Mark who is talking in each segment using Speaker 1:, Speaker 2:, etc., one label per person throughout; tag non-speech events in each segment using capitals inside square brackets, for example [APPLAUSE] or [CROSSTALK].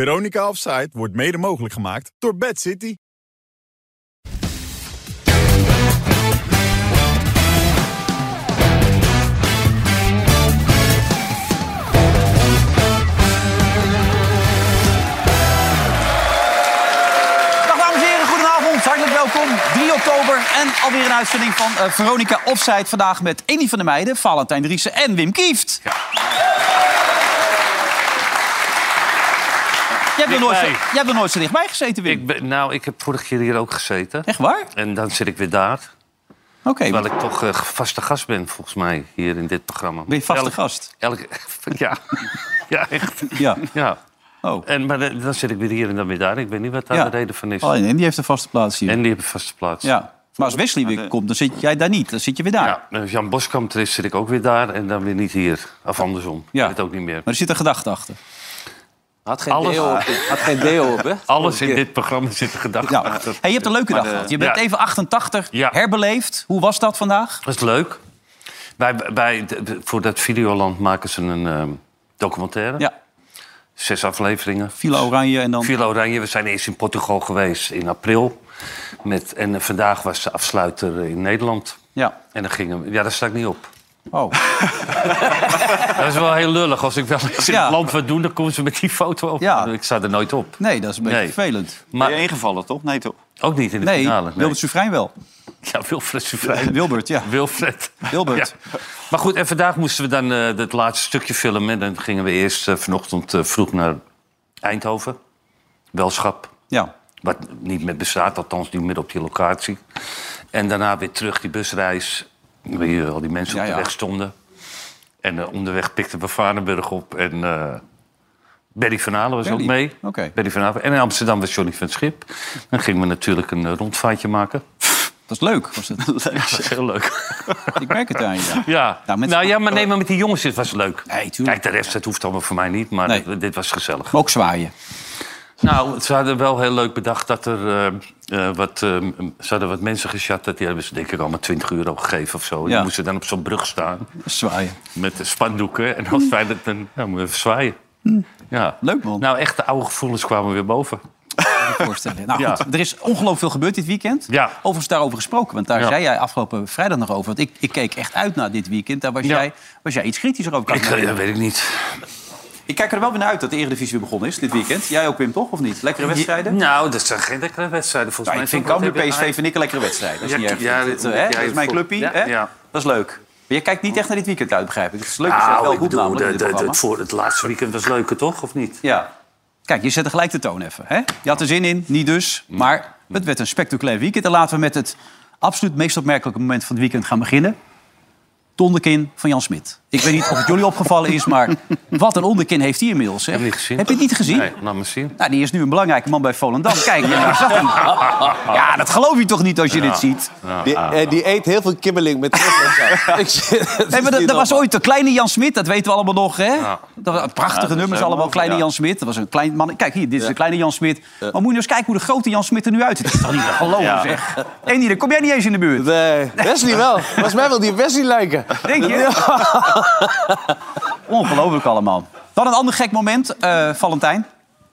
Speaker 1: Veronica Offside wordt mede mogelijk gemaakt door Bad City.
Speaker 2: Dag dames en heren, goedenavond. Hartelijk welkom. 3 oktober en alweer een uitzending van eh, Veronica Offside. Vandaag met Eni van der Meijden, Valentijn Driessen en Wim Kieft. Jij hebt, er nooit zo,
Speaker 3: Dichtbij.
Speaker 2: jij hebt er nooit zo dichtbij gezeten, Wim.
Speaker 3: Ik ben, nou, ik heb vorige keer hier ook gezeten.
Speaker 2: Echt waar?
Speaker 3: En dan zit ik weer daar.
Speaker 2: Oké,
Speaker 3: Terwijl ik toch eh, vaste gast ben, volgens mij, hier in dit programma.
Speaker 2: ben je vaste
Speaker 3: Elk-
Speaker 2: gast?
Speaker 3: [LAUGHS] Elke, ja. ja, echt.
Speaker 2: Ja.
Speaker 3: Ja.
Speaker 2: Oh.
Speaker 3: En, maar dan dan zit ik weer hier en dan weer daar. Ik weet niet wat daar
Speaker 2: Ja.
Speaker 3: de reden van is.
Speaker 2: Oh, en die heeft een vaste plaats hier.
Speaker 3: En die hebben vaste plaats.
Speaker 2: Ja. Maar als Wesley weer komt, dan zit jij daar niet. Dan zit je weer daar.
Speaker 3: Ja, en als Jan Boskamp er is, zit ik ook weer daar en dan weer niet hier. Of andersom.
Speaker 2: Ja.
Speaker 3: Ik weet ook niet meer.
Speaker 2: Maar er zit een gedachte achter.
Speaker 4: Had geen
Speaker 3: Alles-
Speaker 4: deo op. Had geen deo [LAUGHS] op, hè?
Speaker 3: Alles in dit programma zit een gedachte
Speaker 2: Ja.
Speaker 3: achter.
Speaker 2: Hey, je hebt een leuke dag gehad. Je bent
Speaker 3: ja.
Speaker 2: even 88
Speaker 3: Ja.
Speaker 2: herbeleefd. Hoe was dat vandaag?
Speaker 3: Dat is leuk. Wij, wij, de- de- voor dat Videoland maken ze een ehm, documentaire.
Speaker 2: Ja,
Speaker 3: Zes afleveringen.
Speaker 2: Villa Oranje en dan...
Speaker 3: Villa Oranje, we zijn eerst in Portugal geweest in april. Met, en eh, vandaag was de afsluiter in Nederland.
Speaker 2: Ja.
Speaker 3: En dan gingen we... Ja, daar sta ik niet op.
Speaker 2: Oh.
Speaker 3: Dat is wel heel lullig. Als ik wel eens in
Speaker 2: Ja.
Speaker 3: het land wat doe, dan komen ze met die foto op.
Speaker 2: Ja.
Speaker 3: Ik sta er nooit op.
Speaker 2: Nee, dat is een beetje
Speaker 3: Nee.
Speaker 2: vervelend.
Speaker 4: Maar
Speaker 3: Maar
Speaker 4: ingevallen, toch? Nee, toch?
Speaker 3: ook niet in de
Speaker 2: Nee,
Speaker 3: finale. Nee.
Speaker 2: Wilbert Sufrein
Speaker 3: [LAUGHS]
Speaker 2: wel.
Speaker 3: Ja, Wilfred Suvrij.
Speaker 2: Wilbert, ja.
Speaker 3: Wilfred.
Speaker 2: Wilbert.
Speaker 3: Ja. Maar goed, en vandaag moesten we dan eh het laatste stukje filmen. En dan gingen we eerst eh, vanochtend eh, vroeg naar Eindhoven. Welschap.
Speaker 2: Ja.
Speaker 3: Wat niet meer bestaat, althans niet meer op die locatie. En daarna weer terug die busreis. Waar hier al die mensen op
Speaker 2: Ja,
Speaker 3: de
Speaker 2: ja.
Speaker 3: weg stonden. En eh, onderweg pikten we Varenburg op. En eh Berry van Halen was
Speaker 2: Berry?
Speaker 3: ook mee.
Speaker 2: Oké.
Speaker 3: Berry van Halen. En in Amsterdam was Johnny van het Schip. Dan gingen we natuurlijk een eh, rondvaartje maken.
Speaker 2: [LAUGHS] Dat is leuk, was het.
Speaker 3: Dat was heel leuk.
Speaker 2: Ik merk het aan je. ja.
Speaker 3: Ja,
Speaker 2: Nou,
Speaker 3: nou,
Speaker 2: met-
Speaker 3: ja maar, nee, maar met die jongens, dit was leuk.
Speaker 2: Nee, tuurlijk.
Speaker 3: Kijk, de rest, dat hoeft allemaal voor mij niet. Maar
Speaker 2: Nee.
Speaker 3: dit, dit was gezellig.
Speaker 2: Maar ook zwaaien.
Speaker 3: Nou, ze hadden wel heel leuk bedacht dat er eh, eh, wat, eh, ze hadden wat mensen gechat. Dat die hebben ze denk ik allemaal 20 euro gegeven of zo. En
Speaker 2: Ja.
Speaker 3: Die moesten dan op zo'n brug staan
Speaker 2: Zwaaien.
Speaker 3: met de spandoeken. En als wij dat dan ja, moeten we even zwaaien. Ja.
Speaker 2: Mm. Leuk, man.
Speaker 3: Nou, echt de oude gevoelens kwamen weer boven.
Speaker 2: Kan ik me voorstellen. Nou
Speaker 3: Ja.
Speaker 2: goed, er is ongelooflijk veel gebeurd dit weekend.
Speaker 3: Ja.
Speaker 2: Overigens daarover gesproken, want daar
Speaker 3: Ja.
Speaker 2: zei jij afgelopen vrijdag nog over. Want ik, ik keek echt uit naar dit weekend. Daar was,
Speaker 3: Ja.
Speaker 2: jij, was jij iets kritischer over.
Speaker 3: Ik, eh, dat weet ik niet.
Speaker 2: Ik kijk er wel weer naar uit dat de Eredivisie weer begonnen is dit weekend. Jij ook, Wim, toch? Of niet? Lekkere wedstrijden?
Speaker 3: Je- nou, dat zijn geen lekkere wedstrijden
Speaker 2: Ja,
Speaker 3: volgens
Speaker 2: Nou, ik
Speaker 3: mij.
Speaker 2: vind Cambuur,
Speaker 3: Wat heb je-
Speaker 2: PSV, vind ik een lekkere wedstrijd. Dat is,
Speaker 3: Ja,
Speaker 2: niet erg.
Speaker 3: ja,
Speaker 2: dat,
Speaker 3: dit-
Speaker 2: eh,
Speaker 3: ja,
Speaker 2: dat is
Speaker 3: dit
Speaker 2: mijn
Speaker 3: voel-
Speaker 2: clubpie.
Speaker 3: ja,
Speaker 2: hè?
Speaker 3: ja.
Speaker 2: Dat is leuk. Maar je kijkt niet echt naar dit weekend uit, begrijp ik. Het is leuk dat je het
Speaker 3: Nou,
Speaker 2: wel
Speaker 3: ik
Speaker 2: goed
Speaker 3: bedoel,
Speaker 2: namelijk in
Speaker 3: de,
Speaker 2: dit
Speaker 3: de,
Speaker 2: programma.
Speaker 3: het, voor het laatste weekend was leuker, toch? Of niet?
Speaker 2: Ja. Kijk, je zette gelijk de toon even. Hè? Je had er zin in, niet dus. Maar het werd een spectaculair weekend. En laten we met het absoluut meest opmerkelijke moment van het weekend gaan beginnen. Het onderkin van Jan Smit. Ik weet niet of het jullie opgevallen is, maar wat een onderkin heeft hij inmiddels. Hè?
Speaker 3: Heb je niet gezien?
Speaker 2: Heb je het niet gezien?
Speaker 3: Nee, laat maar zien.
Speaker 2: Nou, die is nu een belangrijke man bij Volendam. Kijk, ja. ja, dat geloof je toch niet als je dit ziet?
Speaker 4: ah.
Speaker 5: Die, eh, die eet heel veel kibbeling met [LAUGHS] terug. Ik zie- dat
Speaker 2: Nee,
Speaker 5: is
Speaker 2: maar dat,
Speaker 5: niet
Speaker 2: dat was
Speaker 5: normaal.
Speaker 2: ooit de kleine Jan Smit, dat weten we allemaal nog. Hè? Dat waren prachtige nummers
Speaker 4: helemaal
Speaker 2: allemaal, kleine
Speaker 4: over,
Speaker 2: Jan Smit. Dat was een klein man. Kijk, hier, dit is de kleine Jan Smit. Maar moet je nou eens kijken hoe de grote Jan Smit er nu uitziet. Dat is toch niet te geloven, zeg. En hier, dan kom jij niet eens in de buurt,
Speaker 5: Nee, Wesley wel. Volgens mij wil die op Wesley lijken.
Speaker 2: denk je? [LAUGHS] Ongelooflijk allemaal. Dan een ander gek moment, eh, Valentijn.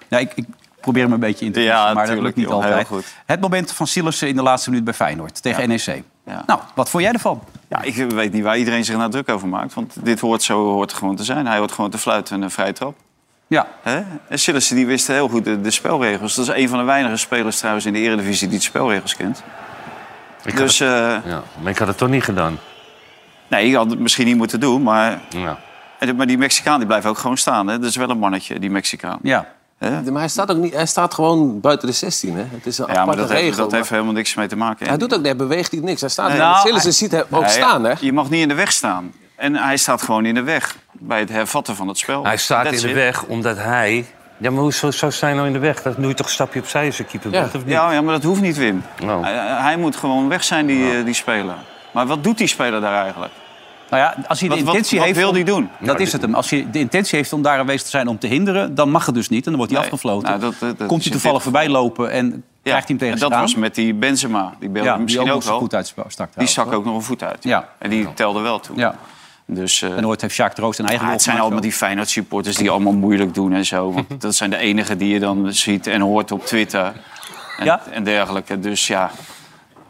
Speaker 2: Ja, ik, ik probeer hem een beetje in te
Speaker 4: Ja,
Speaker 2: vissen, maar dat lukt
Speaker 4: tuurlijk,
Speaker 2: niet
Speaker 4: joh, heel
Speaker 2: altijd.
Speaker 4: goed.
Speaker 2: Het moment van Silas in de laatste minuut bij Feyenoord tegen NEC.
Speaker 4: Ja.
Speaker 2: Nou, wat vond jij ervan?
Speaker 4: Ja, ik weet niet waar iedereen zich nou druk over maakt. Want dit hoort zo hoort er gewoon te zijn. Hij hoort gewoon te fluiten en een vrije trap.
Speaker 2: Ja,
Speaker 4: Hè? En Sillissen die wist heel goed de, de spelregels. Dat is een van de weinige spelers trouwens in de eredivisie die de spelregels kent.
Speaker 3: Ik
Speaker 4: dus eh,
Speaker 3: Ja, maar ik had het toch niet gedaan.
Speaker 4: nee, je had het misschien niet moeten doen. Maar,
Speaker 3: Ja.
Speaker 4: en- maar die Mexicaan die blijft ook gewoon staan. Hè? Dat is wel een mannetje, die Mexicaan.
Speaker 2: ja.
Speaker 5: [LAUGHS] Maar hij staat, ook niet, hij staat gewoon buiten de 16. Hè? Het is een
Speaker 4: Ja, maar
Speaker 5: aparte
Speaker 4: dat,
Speaker 5: regel.
Speaker 4: heeft, dat
Speaker 5: maar
Speaker 4: heeft helemaal niks mee te maken.
Speaker 5: Hij doet ook nee, beweegt hij niks. Hij staat
Speaker 4: Nee.
Speaker 5: daar.
Speaker 2: Nou,
Speaker 5: Sillissen
Speaker 2: hij-
Speaker 5: ziet hem ook
Speaker 4: Nee,
Speaker 5: staan, hè?
Speaker 4: Je mag niet in de weg staan. En hij staat gewoon in de weg bij het hervatten van het spel.
Speaker 3: Hij staat
Speaker 4: That's
Speaker 3: in de
Speaker 4: it.
Speaker 3: weg omdat hij... Ja, maar hoe zo- zou zijn nou in de weg? Dat doe je toch een stapje opzij als je keeper
Speaker 5: Ja.
Speaker 3: bent, of niet?
Speaker 4: Ja, ja, maar dat hoeft niet, Wim.
Speaker 2: Oh.
Speaker 3: Nou.
Speaker 4: Hij, hij moet gewoon weg zijn, die, eh, die speler. Maar wat doet die speler daar eigenlijk?
Speaker 2: Nou ja, als hij de
Speaker 4: Wat, wat,
Speaker 2: intentie
Speaker 4: wat
Speaker 2: heeft...
Speaker 4: wil
Speaker 2: om-
Speaker 4: die doen?
Speaker 2: Dat is het hem. Als je de intentie heeft om daar aanwezig te zijn om te hinderen, dan mag het dus niet. En dan wordt hij
Speaker 4: Nee.
Speaker 2: afgefloten.
Speaker 4: Nou, dat- dat- dat
Speaker 2: Komt
Speaker 4: is
Speaker 2: hij
Speaker 4: in
Speaker 2: toevallig
Speaker 4: dit
Speaker 2: voorbij lopen en krijgt hij hem tegen
Speaker 4: en
Speaker 2: zich
Speaker 4: dat
Speaker 2: aan.
Speaker 4: was met die Benzema. Die beelde
Speaker 2: ja,
Speaker 4: misschien
Speaker 2: die ook,
Speaker 4: ook
Speaker 2: nog zo
Speaker 4: wel.
Speaker 2: goed uitstak.
Speaker 4: Die stak ook nog een voet uit.
Speaker 2: Ja.
Speaker 4: En die telde wel toe.
Speaker 2: Ja.
Speaker 4: Dus, eh,
Speaker 2: En ooit heeft Sjaak Troost een eigen goal
Speaker 4: ja, Ah, het zijn
Speaker 2: gemaakt
Speaker 4: allemaal die Feyenoord supporters die allemaal moeilijk doen en zo.
Speaker 2: [LAUGHS]
Speaker 4: Want dat zijn de enigen die je dan ziet en hoort op Twitter en,
Speaker 2: Ja.
Speaker 4: en dergelijke. Dus ja,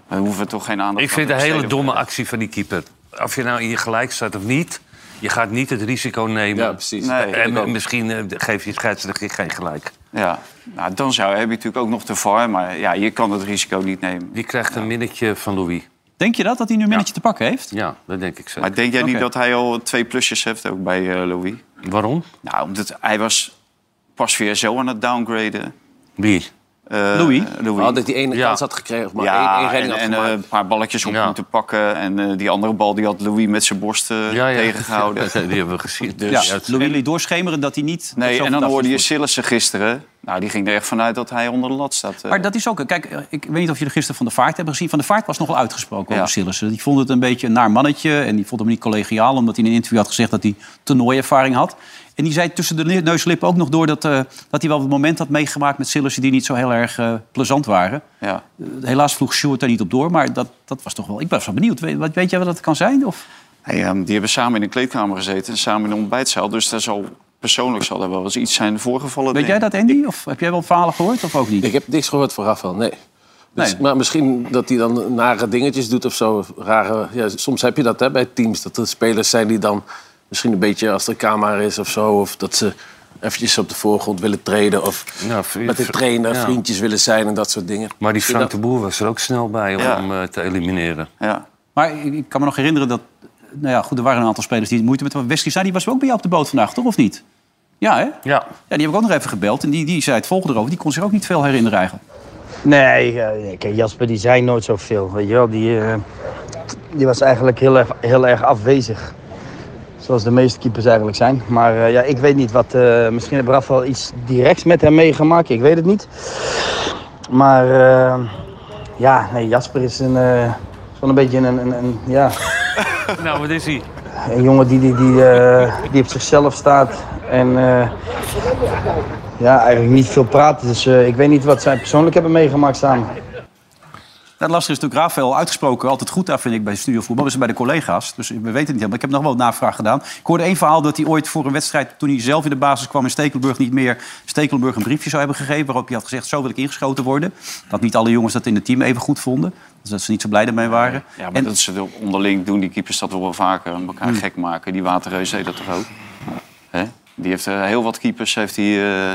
Speaker 4: we hoeven toch geen aandacht
Speaker 3: Ik vind de
Speaker 4: aan te
Speaker 3: hele
Speaker 4: besteden.
Speaker 3: domme actie van die keeper. Of je nou in je gelijk staat of niet, je gaat niet het risico nemen.
Speaker 6: Ja, precies.
Speaker 4: Nee.
Speaker 3: En eh, misschien eh, geef je scheidsrechter geen gelijk.
Speaker 4: Ja, nou, dan zou, heb je natuurlijk ook nog de VAR, maar ja, je kan het risico niet nemen.
Speaker 3: Die krijgt een minnetje van Louis.
Speaker 2: Denk je dat, dat hij nu een minnetje te pakken heeft?
Speaker 3: Ja, dat denk ik zo.
Speaker 4: Maar denk jij niet
Speaker 2: Oké.
Speaker 4: dat hij al twee plusjes heeft ook bij eh, Louis?
Speaker 3: Waarom?
Speaker 4: Nou, omdat hij was pas weer zo aan het downgraden.
Speaker 3: Wie?
Speaker 4: Eh,
Speaker 2: Louis?
Speaker 6: Had ik die ene
Speaker 3: Ja.
Speaker 6: kans had gekregen, maar
Speaker 4: ja,
Speaker 6: één, één redding
Speaker 4: en,
Speaker 6: had
Speaker 4: en, eh,
Speaker 6: gemaakt.
Speaker 4: een paar balletjes op
Speaker 3: Ja.
Speaker 4: moeten pakken. En eh, die andere bal die had Louis met zijn borst eh,
Speaker 6: [LAUGHS]
Speaker 4: tegengehouden.
Speaker 3: [LAUGHS] Die hebben we gezien.
Speaker 2: Ja,
Speaker 3: Dus, ja, het-
Speaker 2: Louis liet doorschemeren dat hij niet...
Speaker 4: Nee,
Speaker 2: zo
Speaker 4: en dan
Speaker 2: verdacht
Speaker 4: hoorde je
Speaker 2: is.
Speaker 4: Sillissen gisteren. Nou, die ging er echt vanuit dat hij onder de lat staat. eh.
Speaker 2: Maar dat is ook... Kijk, eh, ik weet niet of jullie gisteren Van de Vaart hebben gezien. Van de Vaart was nogal uitgesproken
Speaker 4: Ja.
Speaker 2: over Sillissen. Die vond het een beetje een naar mannetje. En die vond hem niet collegiaal. Omdat hij in een interview had gezegd dat hij toernooiervaring had. En die zei tussen de ne- neuslippen ook nog door... dat, eh, dat hij wel wat moment had meegemaakt met Sillissen... die niet zo heel erg eh, plezant waren.
Speaker 4: ja.
Speaker 2: Eh, helaas vroeg Sjoerd daar niet op door. Maar dat, dat was toch wel... Ik ben zo benieuwd. Weet, wat- weet jij wat dat kan zijn? Of...
Speaker 4: Hey, ehm, die hebben samen in een kleedkamer gezeten en samen in de ontbijtzaal. Dus daar zal, persoonlijk zal er wel eens iets zijn voorgevallen.
Speaker 2: Weet
Speaker 4: denk
Speaker 2: jij
Speaker 4: ik.
Speaker 2: dat, Andy? Of heb jij wel verhalen gehoord of ook niet?
Speaker 6: Ik heb niks gehoord van Rafael, nee. Dus-
Speaker 2: Nee.
Speaker 6: Maar misschien dat hij dan nare dingetjes doet of zo. Rare, ja, soms heb je dat hè, bij teams, dat er spelers zijn die dan misschien een beetje als de camera is of zo. Of dat ze eventjes op de voorgrond willen treden of
Speaker 3: Ja, vriend-
Speaker 6: met de trainer
Speaker 3: ja.
Speaker 6: vriendjes willen zijn en dat soort dingen.
Speaker 3: maar die
Speaker 6: Misschien
Speaker 3: Frank de Boer was er ook snel bij om
Speaker 4: Ja.
Speaker 3: hem eh, te elimineren.
Speaker 4: Ja.
Speaker 2: Maar ik, ik kan me nog herinneren dat... Nou ja, goed, er waren een aantal spelers die het moeite met hadden. Wesley Sneijder, die was ook bij jou op de boot vandaag, toch? Of niet? Ja, hè? Ja,
Speaker 3: Ja.
Speaker 2: die heb ik ook nog even gebeld. En die, die zei het volgende erover. Die kon zich ook niet veel herinneren eigenlijk.
Speaker 7: Nee, eh, kijk, Jasper die zei nooit zoveel. Weet je wel, die, eh, die was eigenlijk heel erg, heel erg afwezig. Zoals de meeste keepers eigenlijk zijn. Maar eh, ja, ik weet niet wat. eh, misschien heeft Raf wel iets directs met hem meegemaakt. Ik weet het niet. Maar eh, ja, nee, Jasper is een, eh, zo'n een beetje een, een, een, ja,
Speaker 3: Nou, wat is hij?
Speaker 7: een jongen die, die, die, eh, die op zichzelf staat. En eh, ja, eigenlijk niet veel praat. Dus eh, ik weet niet wat zij persoonlijk hebben meegemaakt samen.
Speaker 2: Nou, Het lastige is natuurlijk Rafael uitgesproken. Altijd goed daar, vind ik, bij studiovoetbal. Dus bij de collega's. Dus we weten het niet helemaal. Ik heb nog wel een navraag gedaan. Ik hoorde één verhaal dat hij ooit voor een wedstrijd... toen hij zelf in de basis kwam in Stekelenburg niet meer... Stekelenburg een briefje zou hebben gegeven... waarop hij had gezegd, zo wil ik ingeschoten worden. Dat niet alle jongens dat in het team even goed vonden. Dus dat ze niet zo blij ermee waren.
Speaker 4: Ja, maar
Speaker 2: En- Hmm.
Speaker 4: dat ze onderling doen, die keepers dat wel vaker. aan elkaar gek maken. Die Waterreus deed dat toch ook? Hè? Die heeft eh, heel wat keepers heeft die, eh,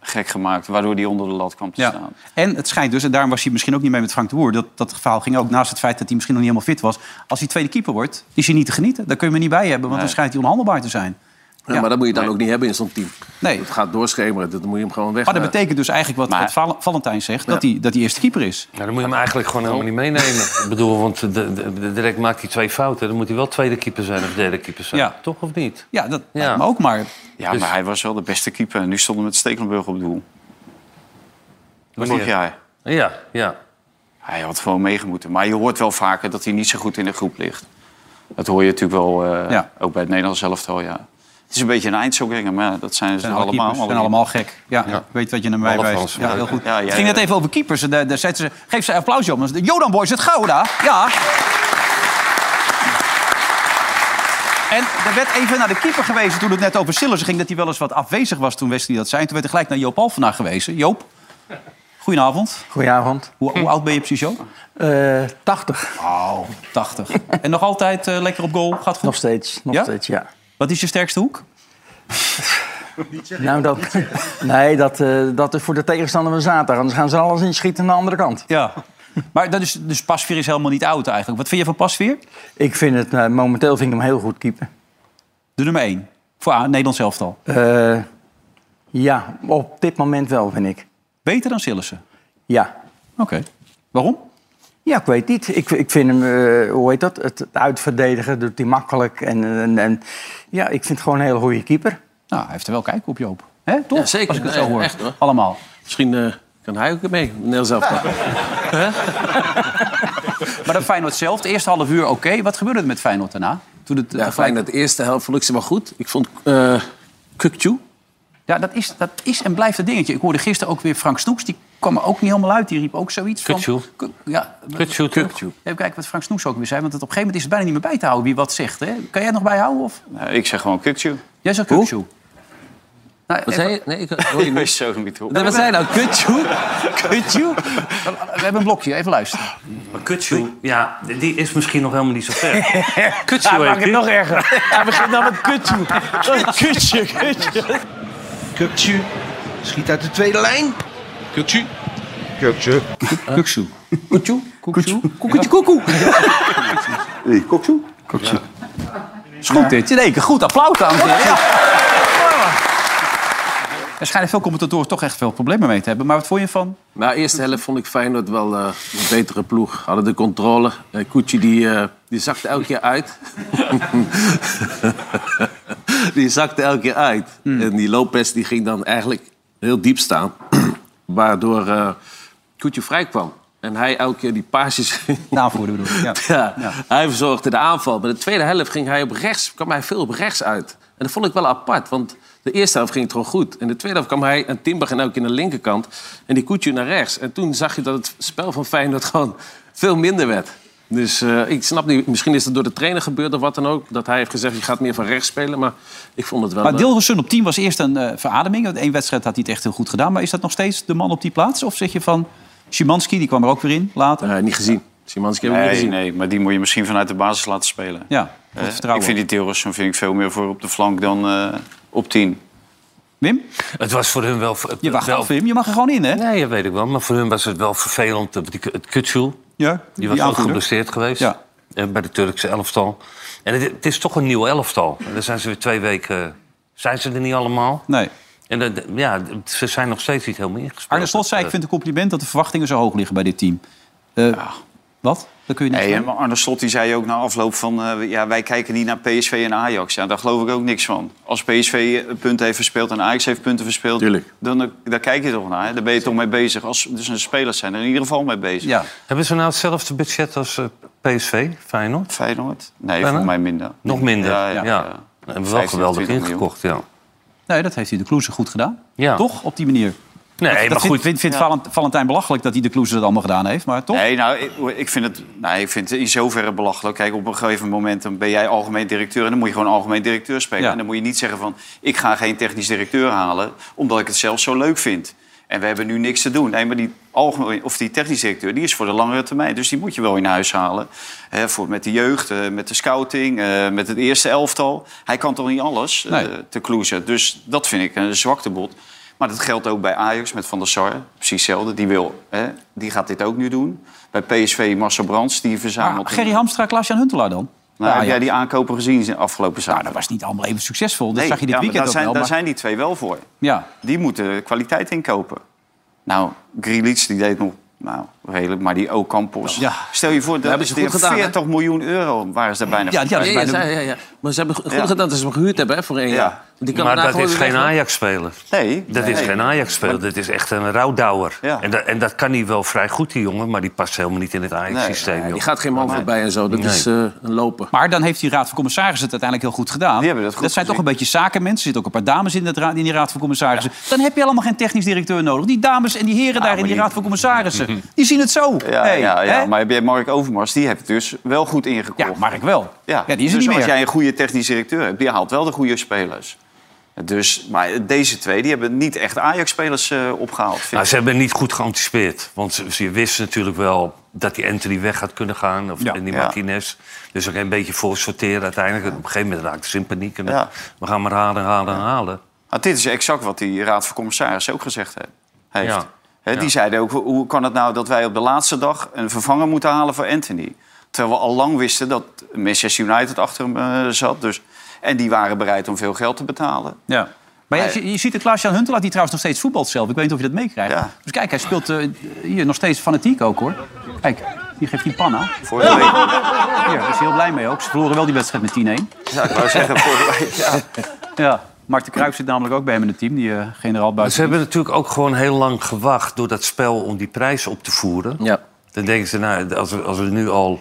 Speaker 4: gek gemaakt, waardoor die onder de lat kwam te
Speaker 2: Ja.
Speaker 4: staan.
Speaker 2: En het schijnt dus, en daarom was hij misschien ook niet mee met Frank de Boer... dat, dat verhaal ging ook naast het feit dat hij misschien nog niet helemaal fit was... als hij tweede keeper wordt, is hij niet te genieten. Daar kun je me niet bij hebben, want dan
Speaker 4: Nee.
Speaker 2: schijnt hij onhandelbaar te zijn.
Speaker 6: Ja, maar dat moet je dan ook niet hebben in zo'n team.
Speaker 2: Nee.
Speaker 6: Het gaat doorschemeren, dat moet je hem gewoon weg.
Speaker 2: Maar dat betekent dus eigenlijk wat,
Speaker 4: Maar-
Speaker 2: wat Val- Valentijn zegt... Dat, hij, dat hij eerste keeper is.
Speaker 3: Nou, dan moet je hem eigenlijk gewoon helemaal niet meenemen. Ik bedoel, want de, de- de- direct maakt hij twee fouten. Dan moet hij wel tweede keeper zijn of derde keeper zijn.
Speaker 2: Ja.
Speaker 3: Toch of niet?
Speaker 2: Ja, dat
Speaker 3: Ja.
Speaker 2: lijkt me ook maar...
Speaker 4: Ja,
Speaker 3: Dus-
Speaker 4: maar hij was wel de beste keeper. En nu stonden we met Stekelenburg op doel. Vorig jaar.
Speaker 3: Ja, ja.
Speaker 4: Hij had gewoon meegemoeten. Maar je hoort wel vaker dat hij niet zo goed in de groep ligt. Dat hoor je natuurlijk wel, eh,
Speaker 2: Ja.
Speaker 4: ook bij het Nederlands elftal, ja. Het is een beetje een eindzoekringer, maar ja, dat zijn ze
Speaker 2: Zijn
Speaker 4: toch
Speaker 2: allemaal,
Speaker 4: allemaal.
Speaker 2: zijn allemaal gek. Ja, ik weet wat je naar mij
Speaker 3: Alle
Speaker 2: wijst.
Speaker 3: Fransen.
Speaker 2: Ja, heel goed.
Speaker 4: Ja, ja,
Speaker 2: het ging
Speaker 4: ja.
Speaker 2: net even over keepers. en Daar, daar zetten ze, geef ze een applausje op. Dan is het, Jodan Boys, het Gouda. Ja. En er werd even naar de keeper gewezen toen het net over Sillessen ging... dat hij wel eens wat afwezig was toen Wesley dat zei. En toen werd er gelijk naar Joop Alphenaar gewezen. Joop, goedenavond.
Speaker 8: Goedenavond.
Speaker 2: Hoe, hoe oud ben je precies, Joop?
Speaker 8: Eh 80.
Speaker 2: 80. En nog altijd eh, lekker op goal? Gaat goed?
Speaker 8: [LAUGHS] Nog steeds. Nog
Speaker 2: Ja?
Speaker 8: steeds, ja.
Speaker 2: Wat is je sterkste hoek?
Speaker 8: Nou, dat, [LAUGHS] nee, dat, eh, dat is voor de tegenstander van zaterdag. Anders gaan ze alles inschieten aan de andere kant.
Speaker 2: Ja. Maar dat is, dus Pasveer is helemaal niet oud eigenlijk. Wat vind je van Pasveer?
Speaker 8: Ik vind het, eh, momenteel vind ik hem heel goed keeper.
Speaker 2: De nummer 1. Voor A, Nederlands elftal.
Speaker 8: Eh, ja, op dit moment wel, vind ik.
Speaker 2: Beter dan Sillissen.
Speaker 8: Ja.
Speaker 2: Oké. Waarom?
Speaker 8: Ja, ik weet niet. Ik, ik vind hem, eh, hoe heet dat? Het, het uitverdedigen doet hij makkelijk. En, en, en ja, ik vind het gewoon een hele goede keeper.
Speaker 2: Nou, hij heeft er wel kijk op, Joop. Hè, toch?
Speaker 6: Ja, zeker.
Speaker 2: Als ik het zo
Speaker 6: Nee,
Speaker 2: hoor.
Speaker 6: echt, hoor.
Speaker 2: Allemaal.
Speaker 6: Misschien eh, kan hij ook mee, Nederlands elftal.
Speaker 2: Maar dan Feyenoord zelf. De eerste half uur oké. Wat gebeurde er met Feyenoord daarna? Toen het eh,
Speaker 6: Ja,
Speaker 2: gelijk...
Speaker 6: fijn. Dat eerste helft vond ik ze wel goed. Ik vond eh Kukçu
Speaker 2: Ja, dat is, dat is en blijft een dingetje. Ik hoorde gisteren ook weer Frank Snoeks. Die kwam er ook niet helemaal uit. Die riep ook zoiets
Speaker 3: Kutjoe.
Speaker 2: van... Ku- Ja,
Speaker 3: Kutjoe, kutjoe.
Speaker 2: Even kijken wat Frank Snoeks ook weer zei. Want het, op een gegeven moment is het bijna niet meer bij te houden wie wat zegt. Hè? Kan jij het nog bijhouden? Of?
Speaker 4: Nee, ik zeg gewoon kutje.
Speaker 2: Jij zegt kutjoe. Nou,
Speaker 9: Wat
Speaker 2: even-
Speaker 9: zei je?
Speaker 2: [LAUGHS]
Speaker 9: Nee, ik
Speaker 4: [LAUGHS]
Speaker 9: hoor je
Speaker 4: Ik
Speaker 9: niet.
Speaker 4: weet zo niet hoe.
Speaker 9: Wat zei je nou? Kutjoe? Kutjoe?
Speaker 2: we hebben een blokje. Even
Speaker 4: [LAUGHS]
Speaker 2: luisteren.
Speaker 3: Maar Kutsu, ja, die is misschien nog helemaal niet zo
Speaker 2: [LAUGHS]
Speaker 3: ver. Kutsu
Speaker 10: Hij maakt Ah,
Speaker 3: heet
Speaker 10: het
Speaker 3: die.
Speaker 10: nog erger. Hij begint nou met kutjoe. Kutje, kutje.
Speaker 11: Kukcu schiet uit de tweede lijn. Kukcu. Kukcu.
Speaker 2: Kuksu. Kuksu. Kuksu. Is goed dit. In één keer goed. Applaus aan. Ja. Er schijnen veel commentatoren toch echt veel problemen mee te hebben. Maar wat vond je van?
Speaker 6: Na de eerste helft vond ik Feyenoord wel eh, een betere ploeg. Hadden de controle. Eh Koetje die, eh, die zakte elke keer uit. [LAUGHS] die zakte elke keer uit. En die Lopez die ging dan eigenlijk heel diep staan. [CLEARS THROAT] waardoor eh Koetje vrij kwam. En hij elke keer die paasjes [LAUGHS]
Speaker 2: Aanvoerder bedoel ik. Ja.
Speaker 6: ja, Hij verzorgde de aanval. Maar de tweede helft ging hij op rechts, kwam hij veel op rechts uit. En dat vond ik wel apart, want de eerste helft ging het gewoon goed. En de tweede helft kwam hij en Timber en ook in de linkerkant. En die koetje naar rechts. En toen zag je dat het spel van Feyenoord [LAUGHS] gewoon veel minder werd. Dus eh, ik snap niet, misschien is het door de trainer gebeurd of wat dan ook. Dat hij heeft gezegd, je gaat meer van rechts spelen. Maar ik vond het wel...
Speaker 2: Maar
Speaker 6: eh,
Speaker 2: Dilgersun op 10 was eerst een eh, verademing. Want één wedstrijd had hij het echt heel goed gedaan. Maar is dat nog steeds de man op die plaats? Of zeg je van Szymanski, die kwam er ook weer in later?
Speaker 6: eh, niet gezien. Simanski heb ik niet
Speaker 4: Nee,
Speaker 6: gezien.
Speaker 4: nee, maar die moet je misschien vanuit de basis laten spelen.
Speaker 2: Ja,
Speaker 4: Eh,
Speaker 2: goed vertrouwen.
Speaker 4: ik vind die Tilrossen vind ik veel meer voor op de flank dan eh, op 10.
Speaker 2: Wim,
Speaker 3: Het was voor hun wel...
Speaker 2: je wacht
Speaker 3: wel-
Speaker 2: af Wim. Je mag er gewoon in, hè?
Speaker 3: Nee, dat weet ik wel. Maar voor hun was het wel vervelend. eh, die- Het Kutsu,
Speaker 2: Ja,
Speaker 3: die was dus. ook
Speaker 2: aanvoerder.
Speaker 3: geblesseerd geweest.
Speaker 2: Ja.
Speaker 3: eh, Bij de Turkse elftal. En het, het is toch een nieuw elftal. En dan zijn ze weer twee weken... Zijn ze er niet allemaal?
Speaker 2: Nee.
Speaker 3: En dat- ja, ze zijn nog steeds niet helemaal ingespeeld.
Speaker 2: Arne Slot
Speaker 3: eh,
Speaker 2: zei, ik vind het een compliment dat de verwachtingen zo hoog liggen bij dit team. Eh, Wat? Dat kun je niet
Speaker 4: Nee,
Speaker 2: zeggen.
Speaker 4: en Arne Slot die zei ook na afloop van... eh, ja, wij kijken niet naar PSV en Ajax. Ja, daar geloof ik ook niks van. Als PSV eh, punten heeft verspeeld en Ajax heeft punten verspeeld...
Speaker 6: Tuurlijk.
Speaker 4: Dan, eh, daar kijk je toch naar. hè? Daar ben je toch mee bezig. Als, dus een spelers zijn er in ieder geval mee bezig.
Speaker 2: Ja.
Speaker 3: Hebben ze nou hetzelfde budget als eh, PSV, Feyenoord?
Speaker 4: Feyenoord? Nee,
Speaker 3: Bijna?
Speaker 4: volgens mij minder.
Speaker 3: Nog minder.
Speaker 4: Ja,
Speaker 3: Ja,
Speaker 4: ja, ja.
Speaker 3: We hebben we wel
Speaker 4: 15,
Speaker 3: geweldig
Speaker 4: 20 miljoen.
Speaker 3: ingekocht, ja.
Speaker 2: Nee, dat heeft hij de Kloeze goed gedaan.
Speaker 3: Ja.
Speaker 2: Toch? Op die manier.
Speaker 3: Nee,
Speaker 2: dat
Speaker 3: maar
Speaker 2: vindt-
Speaker 3: goed.
Speaker 2: vindt, vindt Valent- Valentijn belachelijk dat hij de Kloeze dat allemaal gedaan heeft. Maar toch?
Speaker 4: Nee, nou, ik, ik vind het, nou, ik vind het in zoverre belachelijk. Kijk, op een gegeven moment dan ben jij algemeen directeur... en dan moet je gewoon algemeen directeur spelen.
Speaker 2: Ja.
Speaker 4: En dan moet je niet zeggen van... ik ga geen technisch directeur halen... omdat ik het zelf zo leuk vind. En we hebben nu niks te doen. Nee, maar die, algemeen, of die technisch directeur die is voor de langere termijn. Dus die moet je wel in huis halen. Hè, voor, met de jeugd, eh, met de scouting, eh, met het eerste elftal. Hij kan toch niet alles eh,
Speaker 2: Nee.
Speaker 4: te kloezen. Dus dat vind ik een zwaktebod. Maar dat geldt ook bij Ajax met Van der Sar. Precies hetzelfde. Die, wil, hè, die gaat dit ook nu doen. Bij PSV Marcel Brands, die
Speaker 2: Maar
Speaker 4: verzamelt...
Speaker 2: Ah, Gerry Hamstra, Klaas-Jan Huntelaar dan?
Speaker 4: nou,
Speaker 2: Ja,
Speaker 4: heb
Speaker 2: ja.
Speaker 4: jij die aankopen gezien de afgelopen
Speaker 2: Nou,
Speaker 4: zaterdag?
Speaker 2: dat was niet allemaal even succesvol. Dat
Speaker 4: Nee,
Speaker 2: zag je dit
Speaker 4: ja, maar
Speaker 2: weekend ook
Speaker 4: daar zijn,
Speaker 2: wel.
Speaker 4: Daar
Speaker 2: maar-
Speaker 4: zijn die twee wel voor.
Speaker 2: Ja.
Speaker 4: Die moeten kwaliteit inkopen. Nou, Grealish die deed nog nou, redelijk, maar die Ocampos.
Speaker 2: Ja.
Speaker 4: Stel je voor, dat
Speaker 6: hebben
Speaker 4: is
Speaker 6: ze
Speaker 4: weer
Speaker 6: goed gedaan, hè?
Speaker 4: 40 miljoen euro waren ze daar bijna.
Speaker 2: Ja, ja, dus dat is
Speaker 6: Ja, ja,
Speaker 2: bijna-
Speaker 6: ja, ja. Maar ze hebben goed
Speaker 4: Ja.
Speaker 6: gedaan dat ze hem gehuurd hebben hè, voor één
Speaker 4: Ja.
Speaker 6: jaar. Die kan
Speaker 3: Maar
Speaker 6: daarna
Speaker 3: dat
Speaker 6: gewoon
Speaker 3: is
Speaker 6: weer
Speaker 3: geen
Speaker 6: weg, hè?
Speaker 3: Ajax-speler.
Speaker 4: Nee,
Speaker 3: Dat is
Speaker 4: nee.
Speaker 3: geen Ajax-speler. Dat is echt een rouwdouwer.
Speaker 4: Ja.
Speaker 3: En, dat, en dat kan hij wel vrij goed, die jongen. Maar die past helemaal niet in het Ajax-systeem.
Speaker 6: Die
Speaker 3: joh.
Speaker 6: gaat geen man voorbij en zo. Dat
Speaker 3: Nee.
Speaker 6: is eh, een loper.
Speaker 2: Maar dan heeft die Raad van Commissarissen het uiteindelijk heel goed gedaan.
Speaker 4: Die hebben dat goed
Speaker 2: zijn toch een
Speaker 4: gezien.
Speaker 2: beetje zakenmensen. Er zitten ook een paar dames in, dat raad, in die Raad van Commissarissen. Dan heb je allemaal geen technisch directeur nodig. Die dames en die heren daar in
Speaker 4: maar
Speaker 2: die
Speaker 4: die-
Speaker 2: Raad van
Speaker 4: [LAUGHS]
Speaker 2: Commissarissen, die zien het zo.
Speaker 4: Ja,
Speaker 2: Hey,
Speaker 4: ja, ja.
Speaker 2: hè?
Speaker 4: maar heb jij Mark Overmars, die heeft het dus wel goed
Speaker 2: ja,
Speaker 4: ingekocht.
Speaker 2: maar ik wel. Ja, die is er niet
Speaker 4: dus als
Speaker 2: meer.
Speaker 4: jij een goede technisch directeur hebt, die haalt wel de goede spelers. Dus, maar deze twee, die hebben niet echt Ajax-spelers eh, opgehaald. vind
Speaker 3: Nou,
Speaker 4: ik.
Speaker 3: ze hebben niet goed geanticipeerd. Want ze- ze- je wist natuurlijk wel dat die Anthony weg had kunnen gaan. Of
Speaker 2: Ja.
Speaker 3: en die
Speaker 4: Ja.
Speaker 3: Martinez. Dus ook een beetje voor sorteren uiteindelijk. Op een gegeven moment raakte ze in paniek. En
Speaker 4: Ja.
Speaker 3: We gaan maar halen, halen, halen.
Speaker 4: Nou, dit is exact wat die Raad van Commissarissen ook gezegd he- heeft.
Speaker 3: Ja.
Speaker 4: Hè, die
Speaker 3: Ja.
Speaker 4: zeiden ook, hoe- hoe kan het nou dat wij op de laatste dag... een vervanger moeten halen voor Anthony? Terwijl we al lang wisten dat Manchester United achter hem eh, zat. Dus, en die waren bereid om veel geld te betalen.
Speaker 2: Ja. Maar ja, je, je ziet het Klaas-Jan Huntelaar, die trouwens nog steeds voetbalt zelf. Ik weet niet of je dat meekrijgt.
Speaker 4: Ja.
Speaker 2: Dus kijk, hij speelt eh, hier nog steeds fanatiek ook, hoor. Kijk, die geeft die panna.
Speaker 4: Vorige week,
Speaker 2: Hier, daar is hij heel blij mee ook. Ze verloren wel die wedstrijd met 10-1.
Speaker 4: ja, ik wou zeggen,
Speaker 2: [LAUGHS]
Speaker 4: vorige week, ja.
Speaker 2: Ja, Mark de Kruijf zit namelijk ook bij hem in het team, die eh, generaal
Speaker 3: Maar ze
Speaker 2: buiten.
Speaker 3: hebben natuurlijk ook gewoon heel lang gewacht... door dat spel om die prijs op te voeren.
Speaker 6: Ja.
Speaker 3: Dan denken ze, nou, als we, als we nu al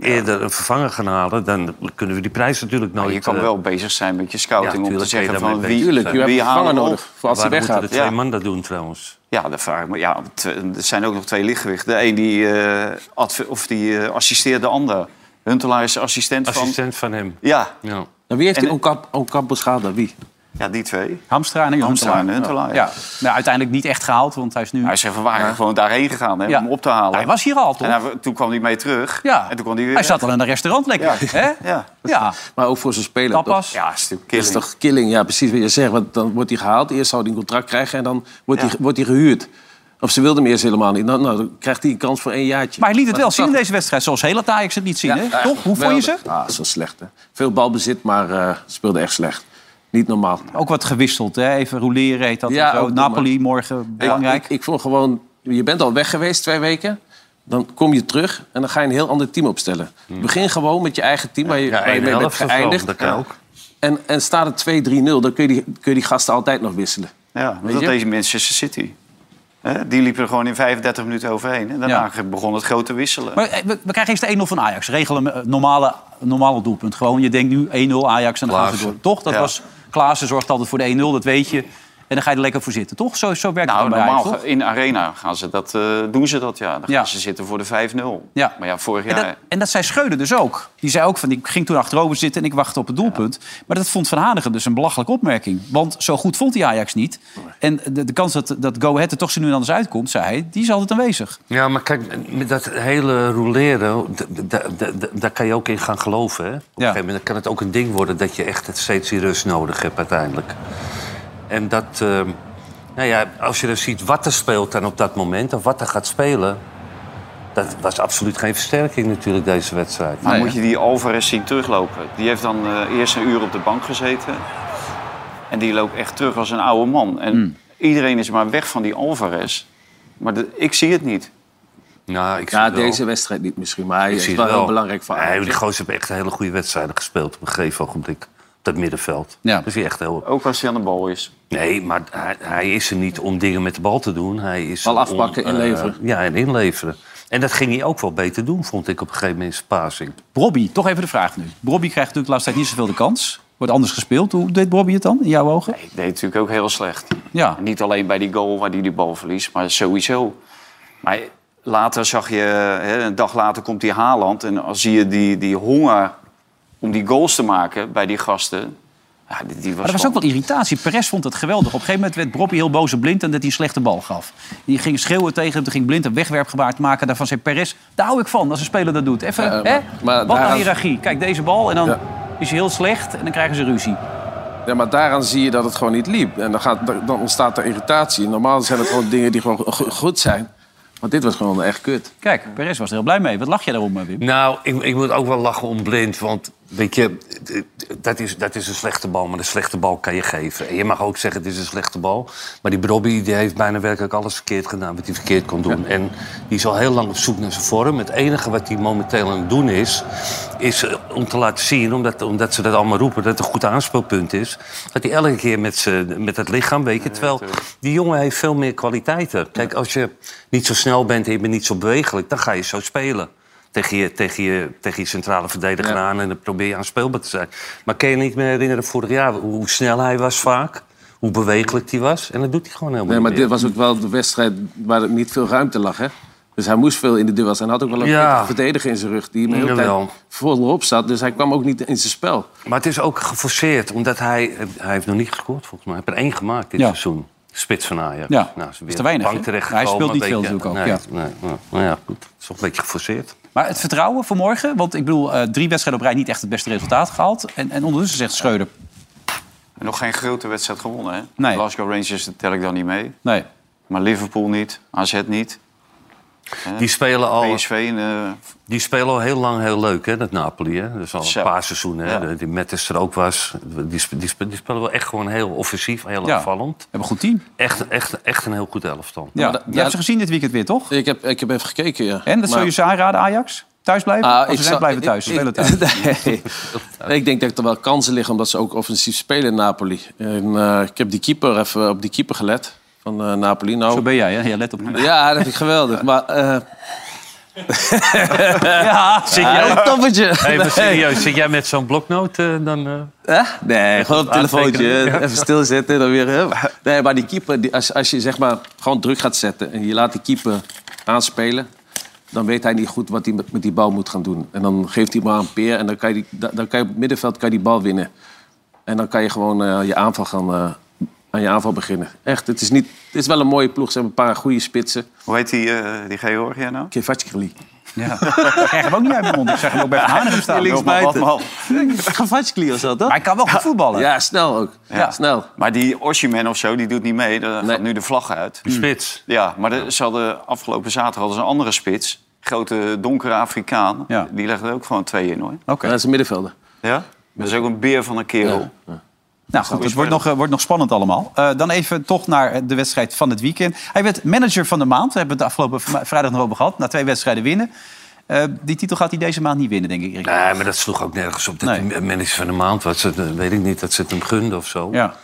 Speaker 3: eerder een vervanger gaan halen... dan kunnen we die prijs natuurlijk nooit...
Speaker 4: Je kan
Speaker 3: eh,
Speaker 4: wel bezig zijn met je scouting om te
Speaker 3: tuurlijk kan je
Speaker 4: zeggen
Speaker 3: daarmee
Speaker 4: van
Speaker 3: bezig
Speaker 4: wie,
Speaker 3: zijn.
Speaker 6: Tuurlijk, je hebt
Speaker 4: wie
Speaker 6: een vervanger
Speaker 4: halen we
Speaker 6: nodig
Speaker 4: op.
Speaker 6: voor als hij
Speaker 3: Waarom moeten
Speaker 6: weggaat.
Speaker 3: de twee
Speaker 4: Ja.
Speaker 3: man dat doen trouwens?
Speaker 4: Ja, dat vraag ik me. Ja, het, eh, er zijn ook nog twee lichtgewichten. De een die, eh, adv- of die eh, assisteert de ander. Huntelaar is assistent, van...
Speaker 3: Assistent van hem.
Speaker 4: Ja.
Speaker 3: Ja.
Speaker 6: En Nou, wie heeft
Speaker 4: En-
Speaker 6: die Oncamp- Ocampos gehaald dan? Wie?
Speaker 4: ja, die twee.
Speaker 2: Hamstra en
Speaker 4: Hamstra
Speaker 2: Huntelaar.
Speaker 4: en Huntelaar,
Speaker 2: Ja. Nou, uiteindelijk niet echt gehaald, want hij is nu...
Speaker 4: Hij is even waar gewoon daarheen gegaan hè,
Speaker 2: Ja.
Speaker 4: om hem op te halen.
Speaker 2: Hij was hier al, toch?
Speaker 4: En hij- toen kwam hij mee terug.
Speaker 2: ja.
Speaker 4: En toen kwam hij weer...
Speaker 2: hij zat al in een restaurant lekker.
Speaker 4: Ja.
Speaker 2: Hè?
Speaker 4: Ja.
Speaker 2: ja,
Speaker 6: Maar ook voor zijn speler.
Speaker 2: dat
Speaker 6: toch?
Speaker 2: pas.
Speaker 4: Ja, is natuurlijk
Speaker 6: Dat is
Speaker 4: killing.
Speaker 6: toch killing, ja, precies wat je zegt. Want dan wordt hij gehaald, eerst zou hij een contract krijgen... en dan wordt,
Speaker 4: Ja.
Speaker 6: hij, wordt hij gehuurd. Of ze wilden hem eerst helemaal niet. Nou, nou, dan krijgt hij een kans voor één jaartje.
Speaker 2: Maar hij liet het wel
Speaker 6: dat
Speaker 2: zien in
Speaker 6: zag-
Speaker 2: deze wedstrijd, zoals heel Ajax het niet zien.
Speaker 6: Ja,
Speaker 2: hè?
Speaker 6: echt
Speaker 2: Toch? Hoe vond je ze?
Speaker 6: geweldig. Ah, zo slecht, hè. Veel balbezit, maar eh, speelde echt slecht. Niet normaal.
Speaker 2: Ook wat gewisseld, hè? even rouleren heet dat.
Speaker 6: Ja,
Speaker 2: en zo.
Speaker 6: ook dom,
Speaker 2: Napoli morgen, belangrijk.
Speaker 6: Ik, ik vond gewoon, je bent al weg geweest twee weken. Dan kom je terug en dan ga je een heel ander team opstellen. Begin gewoon met je eigen team waar je,
Speaker 3: Hmm. Ja,
Speaker 6: waar je
Speaker 3: één
Speaker 6: mee bent
Speaker 3: helft of zo,
Speaker 6: geëindigd.
Speaker 3: dat kan ook.
Speaker 6: En, en staat het 2-3-0, dan kun je, die, kun je die gasten altijd nog wisselen.
Speaker 4: Ja, maar dat
Speaker 6: je?
Speaker 4: deze Manchester City. Hè, die liepen er gewoon in 35 minuten overheen. En daarna begon het grote wisselen.
Speaker 2: Maar eh, we, we krijgen eerst de 1-0 van Ajax. Regelen een eh, normale, normale doelpunt. Gewoon, je denkt nu 1-0 Ajax en dan gaan ze
Speaker 3: Klaassen.
Speaker 2: door. Toch? Dat
Speaker 4: Ja.
Speaker 2: was, Klaassen zorgt altijd voor de 1-0, dat weet je. En dan ga je er lekker voor zitten, toch? Zo, zo werkt
Speaker 4: Nou,
Speaker 2: het dan bij
Speaker 4: normaal
Speaker 2: Ajax,
Speaker 4: ga-
Speaker 2: Oh, toch?
Speaker 4: in Arena gaan ze dat, eh, doen ze dat, ja. Dan gaan
Speaker 2: Ja.
Speaker 4: ze zitten voor de 5-0.
Speaker 2: Ja.
Speaker 4: Maar ja, vorig
Speaker 2: En
Speaker 4: jaar...
Speaker 2: dat, en dat zei Schreuder dus ook. Die zei ook van, ik ging toen achterover zitten en ik wachtte op het doelpunt. Maar dat vond Van Hanegem dus een belachelijke opmerking. Want zo goed vond hij Ajax niet. En de, de kans dat, dat Go Ahead er toch zo nu en anders uitkomt, zei hij, die is altijd aanwezig.
Speaker 3: Ja, maar kijk, met dat hele rouleren, d- d- d- d- daar kan je ook in gaan geloven. Hè? Op een gegeven moment kan het ook een ding worden dat je echt het steeds die rust nodig hebt uiteindelijk. En dat, ehm, nou ja, als je dan ziet wat er speelt dan op dat moment, of wat er gaat spelen... dat was absoluut geen versterking natuurlijk, deze wedstrijd.
Speaker 2: Nou
Speaker 4: Maar moet je die Alvarez zien teruglopen? Die heeft dan eh, eerst een uur op de bank gezeten. En die loopt echt terug als een oude man. En
Speaker 2: Hmm.
Speaker 4: iedereen is maar weg van die Alvarez. Maar de- ik zie het niet.
Speaker 3: Nou, ik zie
Speaker 6: Ja,
Speaker 3: het wel.
Speaker 6: deze wedstrijd niet misschien, maar hij
Speaker 3: Ik
Speaker 6: is
Speaker 3: zie
Speaker 6: wel,
Speaker 3: het
Speaker 6: heel belangrijk voor
Speaker 3: Nee,
Speaker 6: Ajax.
Speaker 3: die gozer heeft echt een hele goede wedstrijden gespeeld op een gegeven ogenblik. Op dat middenveld.
Speaker 2: Ja.
Speaker 3: Dus hij echt heel...
Speaker 4: Ook als hij aan de bal is.
Speaker 3: Nee, maar hij, hij is er niet om dingen met de bal te doen. Hij is
Speaker 6: Bal
Speaker 3: er
Speaker 6: afpakken,
Speaker 3: om, eh,
Speaker 6: inleveren.
Speaker 3: ja, en inleveren. En dat ging hij ook wel beter doen, vond ik op een gegeven moment in zijn passing.
Speaker 2: Bobby, toch even de vraag nu. Bobby krijgt natuurlijk de laatste tijd niet zoveel de kans. Wordt anders gespeeld. Hoe deed Bobby het dan, in jouw ogen?
Speaker 4: Ik deed natuurlijk ook heel slecht.
Speaker 2: Ja.
Speaker 4: En Niet alleen bij die goal waar hij die bal verliest, maar sowieso. Maar later zag je, hè, een dag later komt die Haaland. En dan zie je die, die honger om die goals te maken bij die gasten. Ja, die, die was
Speaker 2: Maar er was
Speaker 4: gewoon-
Speaker 2: ook wel irritatie. Perez vond het geweldig. Op een gegeven moment werd Bobby heel boos op Blind... en dat hij een slechte bal gaf. Die ging schreeuwen tegen hem. Toen ging Blind een wegwerpgebaar maken. Daarvan zei Perez, daar hou ik van als een speler dat doet. Even,
Speaker 6: Ja, maar-
Speaker 2: hè?
Speaker 6: maar
Speaker 2: Wat een
Speaker 6: daaraan-
Speaker 2: hiërarchie. Kijk, deze bal en dan
Speaker 6: Ja.
Speaker 2: is hij heel slecht... en dan krijgen ze ruzie.
Speaker 6: Ja, maar daaraan zie je dat het gewoon niet liep. En dan, gaat, dan ontstaat er irritatie. Normaal zijn het gewoon dingen die gewoon go- goed zijn. Maar dit was gewoon echt kut.
Speaker 2: Kijk, Perez was er heel blij mee. Wat lach je daarom, eh, Wim?
Speaker 3: Nou, ik, ik moet ook wel lachen om blind. Want weet je, dat is, dat is een slechte bal. Maar een slechte bal kan je geven. En je mag ook zeggen, het is een slechte bal. Maar die Brobby die heeft bijna werkelijk alles verkeerd gedaan wat hij verkeerd kon doen. En die is al heel lang op zoek naar zijn vorm. Het enige wat hij momenteel aan het doen is, is eh, om te laten zien, omdat, omdat ze dat allemaal roepen, dat het een goed aanspeelpunt is. Dat hij elke keer met, z'n- met het lichaam, weet je. Terwijl die jongen heeft veel meer kwaliteiten. Kijk, als je niet zo snel bent en je bent niet zo bewegelijk, dan ga je zo spelen tegen je, tegen je, tegen je centrale verdediger aan en dan probeer je aan speelbaar te zijn. Maar kan je niet meer herinneren vorig jaar hoe, hoe snel hij was vaak, hoe bewegelijk hij was. En dat doet hij gewoon helemaal
Speaker 6: Nee, maar
Speaker 3: niet meer.
Speaker 6: dit was ook wel de wedstrijd waar het niet veel ruimte lag, hè? Dus hij moest veel in de duels. En hij had ook wel een
Speaker 3: Ja.
Speaker 6: pittige verdediger in zijn rug... die hem de hele tijd
Speaker 3: Jawel.
Speaker 6: volop zat. Dus hij kwam ook niet in zijn spel.
Speaker 3: Maar het is ook geforceerd, omdat hij... Hij heeft nog niet gescoord, volgens mij. Hij heeft er één gemaakt dit
Speaker 2: Ja.
Speaker 3: seizoen. Spits van Ajax.
Speaker 2: Ja.
Speaker 3: ze
Speaker 2: Is te
Speaker 3: weer op de
Speaker 2: weinig,
Speaker 3: bank
Speaker 2: hè?
Speaker 3: terechtgekomen,
Speaker 2: Hij speelt niet
Speaker 3: een
Speaker 2: veel
Speaker 3: beetje.
Speaker 2: natuurlijk ook,
Speaker 3: Nee, nee, nou, nou ja, goed. Het is toch een beetje geforceerd.
Speaker 2: Maar het vertrouwen voor morgen? Want ik bedoel, eh, drie wedstrijden op rij niet echt het beste resultaat gehaald. En, en ondertussen zegt Schreuder,
Speaker 4: En nog geen grote wedstrijd gewonnen, hè?
Speaker 2: Nee.
Speaker 4: Glasgow Rangers dat tel ik dan niet mee.
Speaker 2: nee,
Speaker 4: Maar Liverpool niet, AZ niet,
Speaker 3: Die spelen al...
Speaker 4: PSV... en, eh,
Speaker 3: Die spelen al heel lang heel leuk, hè, dat Napoli. Hè? Dat is al
Speaker 4: Zo.
Speaker 3: een paar seizoenen. Hè?
Speaker 4: Ja.
Speaker 3: De- Die Mettes er ook was. Die, sp- die, sp- die spelen wel echt gewoon heel offensief, heel
Speaker 2: Ja.
Speaker 3: aanvallend.
Speaker 2: hebben een goed team.
Speaker 3: Echt, echt, echt een heel goed elftal.
Speaker 2: Ja.
Speaker 6: maar dat-
Speaker 2: je
Speaker 6: ja,
Speaker 2: hebt ze gezien dit weekend weer, toch?
Speaker 6: Ik heb, ik heb even gekeken, ja.
Speaker 2: En, dat zou je
Speaker 6: Maar-
Speaker 2: ze aanraden, Ajax? Thuis blijven?
Speaker 6: Ah,
Speaker 2: of ze
Speaker 6: ik
Speaker 2: zijn
Speaker 6: zou-
Speaker 2: blijven
Speaker 6: ik-
Speaker 2: thuis,
Speaker 6: ik-
Speaker 2: spelen
Speaker 6: [LAUGHS]
Speaker 2: thuis.
Speaker 6: Nee. Nee, ik denk dat er wel kansen liggen omdat ze ook offensief spelen in Napoli. En, eh, ik heb die keeper even op die keeper gelet van eh, Napoli. Nou,
Speaker 2: Zo ben jij, hè? Ja, let op.
Speaker 6: Ja, dat vind ik geweldig. Maar eh,
Speaker 2: Ja, zit
Speaker 12: Ja, een toppertje.
Speaker 3: Nee, maar serieus, zit jij met zo'n bloknoot eh, dan... eh?
Speaker 12: Hè?
Speaker 6: Nee, gewoon op het telefoontje.
Speaker 3: Aantekenen,
Speaker 6: Even stilzetten. Dan weer, hè. Nee, maar die keeper, die, als, als je zeg maar gewoon druk gaat zetten en je laat die keeper aanspelen, dan weet hij niet goed wat hij met, met die bal moet gaan doen. En dan geeft hij maar een peer en dan kan je, die, da- dan kan je op het middenveld kan je die bal winnen. En dan kan je gewoon eh, je aanval gaan, eh, aan je aanval beginnen. Echt, het is, niet, het is wel een mooie ploeg. Ze hebben een paar goede spitsen.
Speaker 4: Hoe heet die, eh, die Georgia nou?
Speaker 6: Kevachkrili.
Speaker 2: Ja. Krijg hem ook niet uit mijn mond. Ik zeg hem ook bij Van Hanegem staan.
Speaker 6: linksbuiten.
Speaker 4: Maar,
Speaker 6: Kevachkrili was dat, toch?
Speaker 2: Maar hij kan wel goed voetballen.
Speaker 6: Ja, snel ook.
Speaker 4: Ja.
Speaker 6: Snel.
Speaker 4: maar die Oshiman of zo, die doet niet mee. Daar gaat nu de vlag uit.
Speaker 3: Spits.
Speaker 4: Ja, maar de, ze hadden, afgelopen zaterdag hadden ze een andere spits. Grote donkere Afrikaan.
Speaker 2: Ja.
Speaker 4: Die legde er ook gewoon twee in hoor.
Speaker 2: Oké.
Speaker 6: Dat is een middenvelder.
Speaker 4: Ja? Dat is ook een beer van een kerel.
Speaker 2: Nou goed, het wordt nog, eh, wordt nog spannend allemaal. Eh, dan even toch naar eh, de wedstrijd van het weekend. Hij werd manager van de maand. We hebben het de afgelopen vri- vrijdag nog over gehad. Na twee wedstrijden winnen. Eh, die titel gaat hij deze maand niet winnen, denk ik. Erik.
Speaker 3: Nee, maar dat sloeg ook nergens op. Dat
Speaker 2: Nee.
Speaker 3: hij manager van de maand was, dat, eh, weet ik niet, dat ze het hem gunden of zo.
Speaker 2: Ja.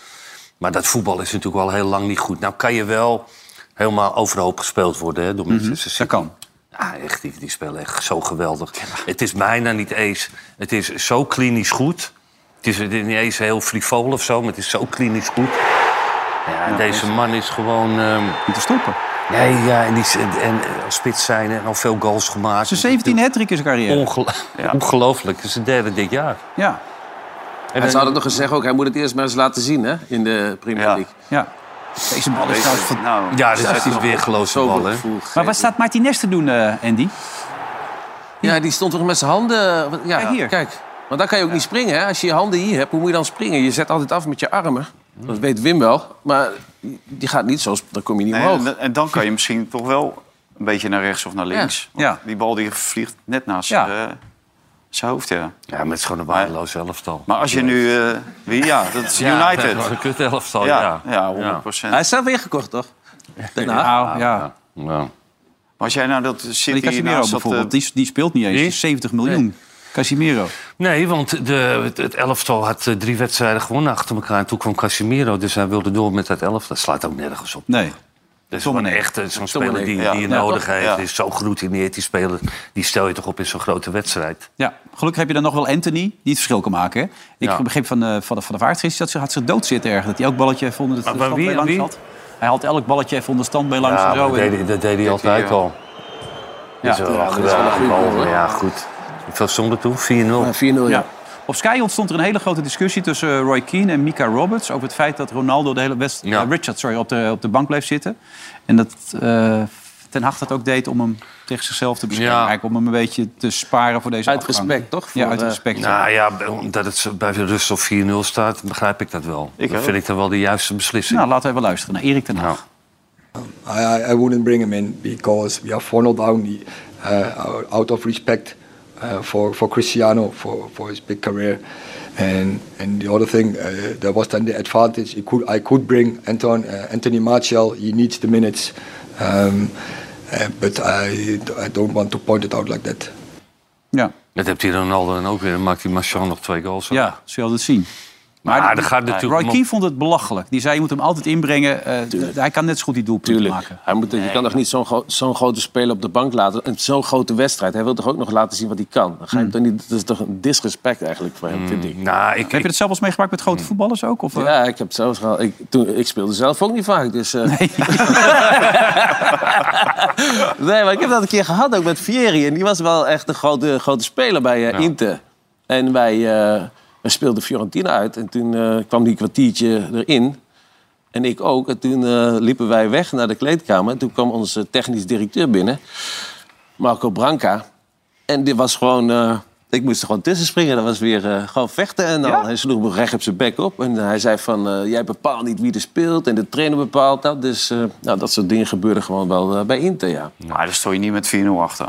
Speaker 3: Maar dat voetbal is natuurlijk al heel lang niet goed. Nou kan je wel helemaal overhoop gespeeld worden hè, door mensen.
Speaker 2: Dat kan.
Speaker 3: Ja, echt, die, die spelen echt zo geweldig. Het is bijna niet eens... Het is zo klinisch goed. Het is niet eens heel frivol of zo, maar het is zo klinisch goed. Ja, deze man is gewoon... ehm,
Speaker 2: Niet te stoppen.
Speaker 3: nee, ja, en, die, is- en, en als spits zijn en al veel goals gemaakt.
Speaker 2: Zijn 17 hat-trick in zijn carrière.
Speaker 3: Ongel- Ongelooflijk. Het is het derde dit jaar.
Speaker 2: Ja.
Speaker 6: Hij zou dat nog eens zeggen ook. Hij moet het eerst maar eens laten zien hè, in de Premier
Speaker 4: Ja.
Speaker 6: League.
Speaker 2: ja. Deze bal is trouwens... van-
Speaker 4: Nou,
Speaker 3: Ja, dat is weer geloofde
Speaker 6: Zo
Speaker 3: bal, hè?
Speaker 6: gevoel.
Speaker 2: Maar wat staat Martinez te doen, eh, Andy?
Speaker 6: Ja, die stond toch met zijn handen. wat- Ja,
Speaker 2: Kijk hier.
Speaker 6: Kijk. Want dan kan je ook niet springen. Hè? Als je je handen hier hebt, hoe moet je dan springen? Je zet altijd af met je armen. Dat weet Wim wel. Maar die gaat niet zo, sp- dan kom je niet
Speaker 4: nee,
Speaker 6: omhoog.
Speaker 4: en, en dan kan je misschien toch wel een beetje naar rechts of naar links. Want
Speaker 2: Ja.
Speaker 4: Die bal die vliegt net naast
Speaker 2: Ja.
Speaker 4: eh, zijn hoofd, ja.
Speaker 3: Ja, maar het is gewoon een waardeloos elftal.
Speaker 4: Maar als je nu... eh, wie? Ja, dat is United.
Speaker 3: Dat is [LAUGHS] een kut elftal,
Speaker 4: Ja,
Speaker 3: ja.
Speaker 4: ja, 100
Speaker 3: ja.
Speaker 6: Hij is zelf ingekocht, toch? Daarna.
Speaker 2: Nou, ja.
Speaker 3: Ja.
Speaker 4: Maar als jij nou dat
Speaker 2: Die
Speaker 4: City
Speaker 2: Casimiro
Speaker 4: naast dat... eh,
Speaker 2: bijvoorbeeld, die, die speelt niet eens.
Speaker 3: Wie?
Speaker 2: 70 miljoen. Casimiro.
Speaker 3: Nee, want de, het- het elftal had eh, drie wedstrijden gewonnen achter elkaar. En toen kwam Casemiro, dus hij wilde door met dat elftal. Dat slaat ook nergens op.
Speaker 2: Nee.
Speaker 3: Dat is gewoon echt eh, zo'n speler die,
Speaker 4: ja.
Speaker 3: die je
Speaker 4: Ja,
Speaker 3: nodig heeft.
Speaker 4: Ja.
Speaker 3: Die is zo geroutineerd, die speler. Die stel je toch op in zo'n grote wedstrijd.
Speaker 2: Ja, gelukkig heb je dan nog wel Anthony, die het verschil kan maken. hè? Ik
Speaker 3: Ja.
Speaker 2: begreep van, eh, van, de, van de Vaart gisteren dat ze had zich dood zitten erg. Dat hij elk balletje even onder de
Speaker 3: Maar
Speaker 2: standbeen
Speaker 3: wie-
Speaker 2: langs
Speaker 3: wie?
Speaker 2: had. Hij had elk balletje even onder de standbeen langs en zo.
Speaker 3: dat deed,
Speaker 2: En-
Speaker 3: hij- dat deed hij altijd al. Ja, dat is wel geweldig. maar Ja, goed. Hoeveel stond er toen? 4-0.
Speaker 6: Ja, 4-0, ja.
Speaker 2: Ja. Op Sky ontstond er een hele grote discussie tussen eh, Roy Keane en Mika Roberts... over het feit dat Ronaldo de hele wedstrijd...
Speaker 3: Ja.
Speaker 2: eh, Richard, sorry, op de, op de bank bleef zitten. En dat eh, Ten Hag dat ook deed om hem tegen zichzelf te beschermen.
Speaker 3: Ja.
Speaker 2: Eigenlijk om hem een beetje te sparen voor deze
Speaker 6: Uit
Speaker 2: afgang.
Speaker 6: respect, toch?
Speaker 2: Ja,
Speaker 6: Voor,
Speaker 2: uit
Speaker 6: eh,
Speaker 2: respect. ja.
Speaker 3: Nou ja, omdat het bij Rust op 4-0 staat, begrijp ik dat wel.
Speaker 4: Ik
Speaker 3: dat
Speaker 4: ook.
Speaker 3: vind ik dan wel de juiste beslissing.
Speaker 2: Nou, laten we even luisteren naar Erik Ten Hag.
Speaker 3: Nou.
Speaker 13: I, I I wouldn't bring him in because we are 4 0 down the, uh, out of respect uh, for, for Cristiano, for, for his big career. And, and the other thing, uh, there was then the advantage. It could, I could bring Anton, uh, Anthony Martial, he needs the minutes. Um, uh, but I, I don't want to point it out like that.
Speaker 2: Ja.
Speaker 3: Nou, Dat heeft hij Ronaldo dan ook weer. Dan maakt hij Marchand nog twee goals.
Speaker 2: ja, zul je dat zien.
Speaker 3: maar,
Speaker 2: Maar
Speaker 3: dat gaat
Speaker 2: Roy
Speaker 3: natuurlijk... om-
Speaker 2: Keane vond het belachelijk. Die zei, je moet hem altijd inbrengen. Eh, d- hij kan net zo goed die doelpunt
Speaker 6: Tuurlijk.
Speaker 2: maken.
Speaker 6: Hij moet, je kan toch niet zo'n gro- zo'n grote speler op de bank laten. En zo'n grote wedstrijd. Hij wil toch ook nog laten zien wat hij kan. Dan ga je
Speaker 2: Hmm.
Speaker 6: hem toch niet, dat is toch een disrespect eigenlijk voor hem, vind ik.
Speaker 3: Nou, ik,
Speaker 2: Heb je
Speaker 3: ik,
Speaker 2: dat zelf eens meegemaakt met
Speaker 4: Hmm.
Speaker 2: grote voetballers ook? Of, eh?
Speaker 6: Ja, ik heb het zelfs gehad. Ik, toen, ik speelde zelf ook niet vaak, dus... eh, [LAUGHS] Nee. maar ik heb dat een keer gehad, ook met Fieri. En die was wel echt een grote, grote speler bij eh, Inter. En wij eh, we speelden Fiorentina uit. En toen eh, kwam die kwartiertje erin. En ik ook. En toen eh, liepen wij weg naar de kleedkamer. En toen kwam onze technisch directeur binnen. Marco Branca. En dit was gewoon... eh, ik moest er gewoon tussen springen. Dat was weer eh, gewoon vechten. En dan, hij sloeg me recht op zijn bek op. En hij zei van, eh, jij bepaalt niet wie er speelt. En de trainer bepaalt dat. Dus eh, nou, dat soort dingen gebeuren gewoon wel eh, bij Inter, ja.
Speaker 4: Maar daar stond je niet met 4-0 achter.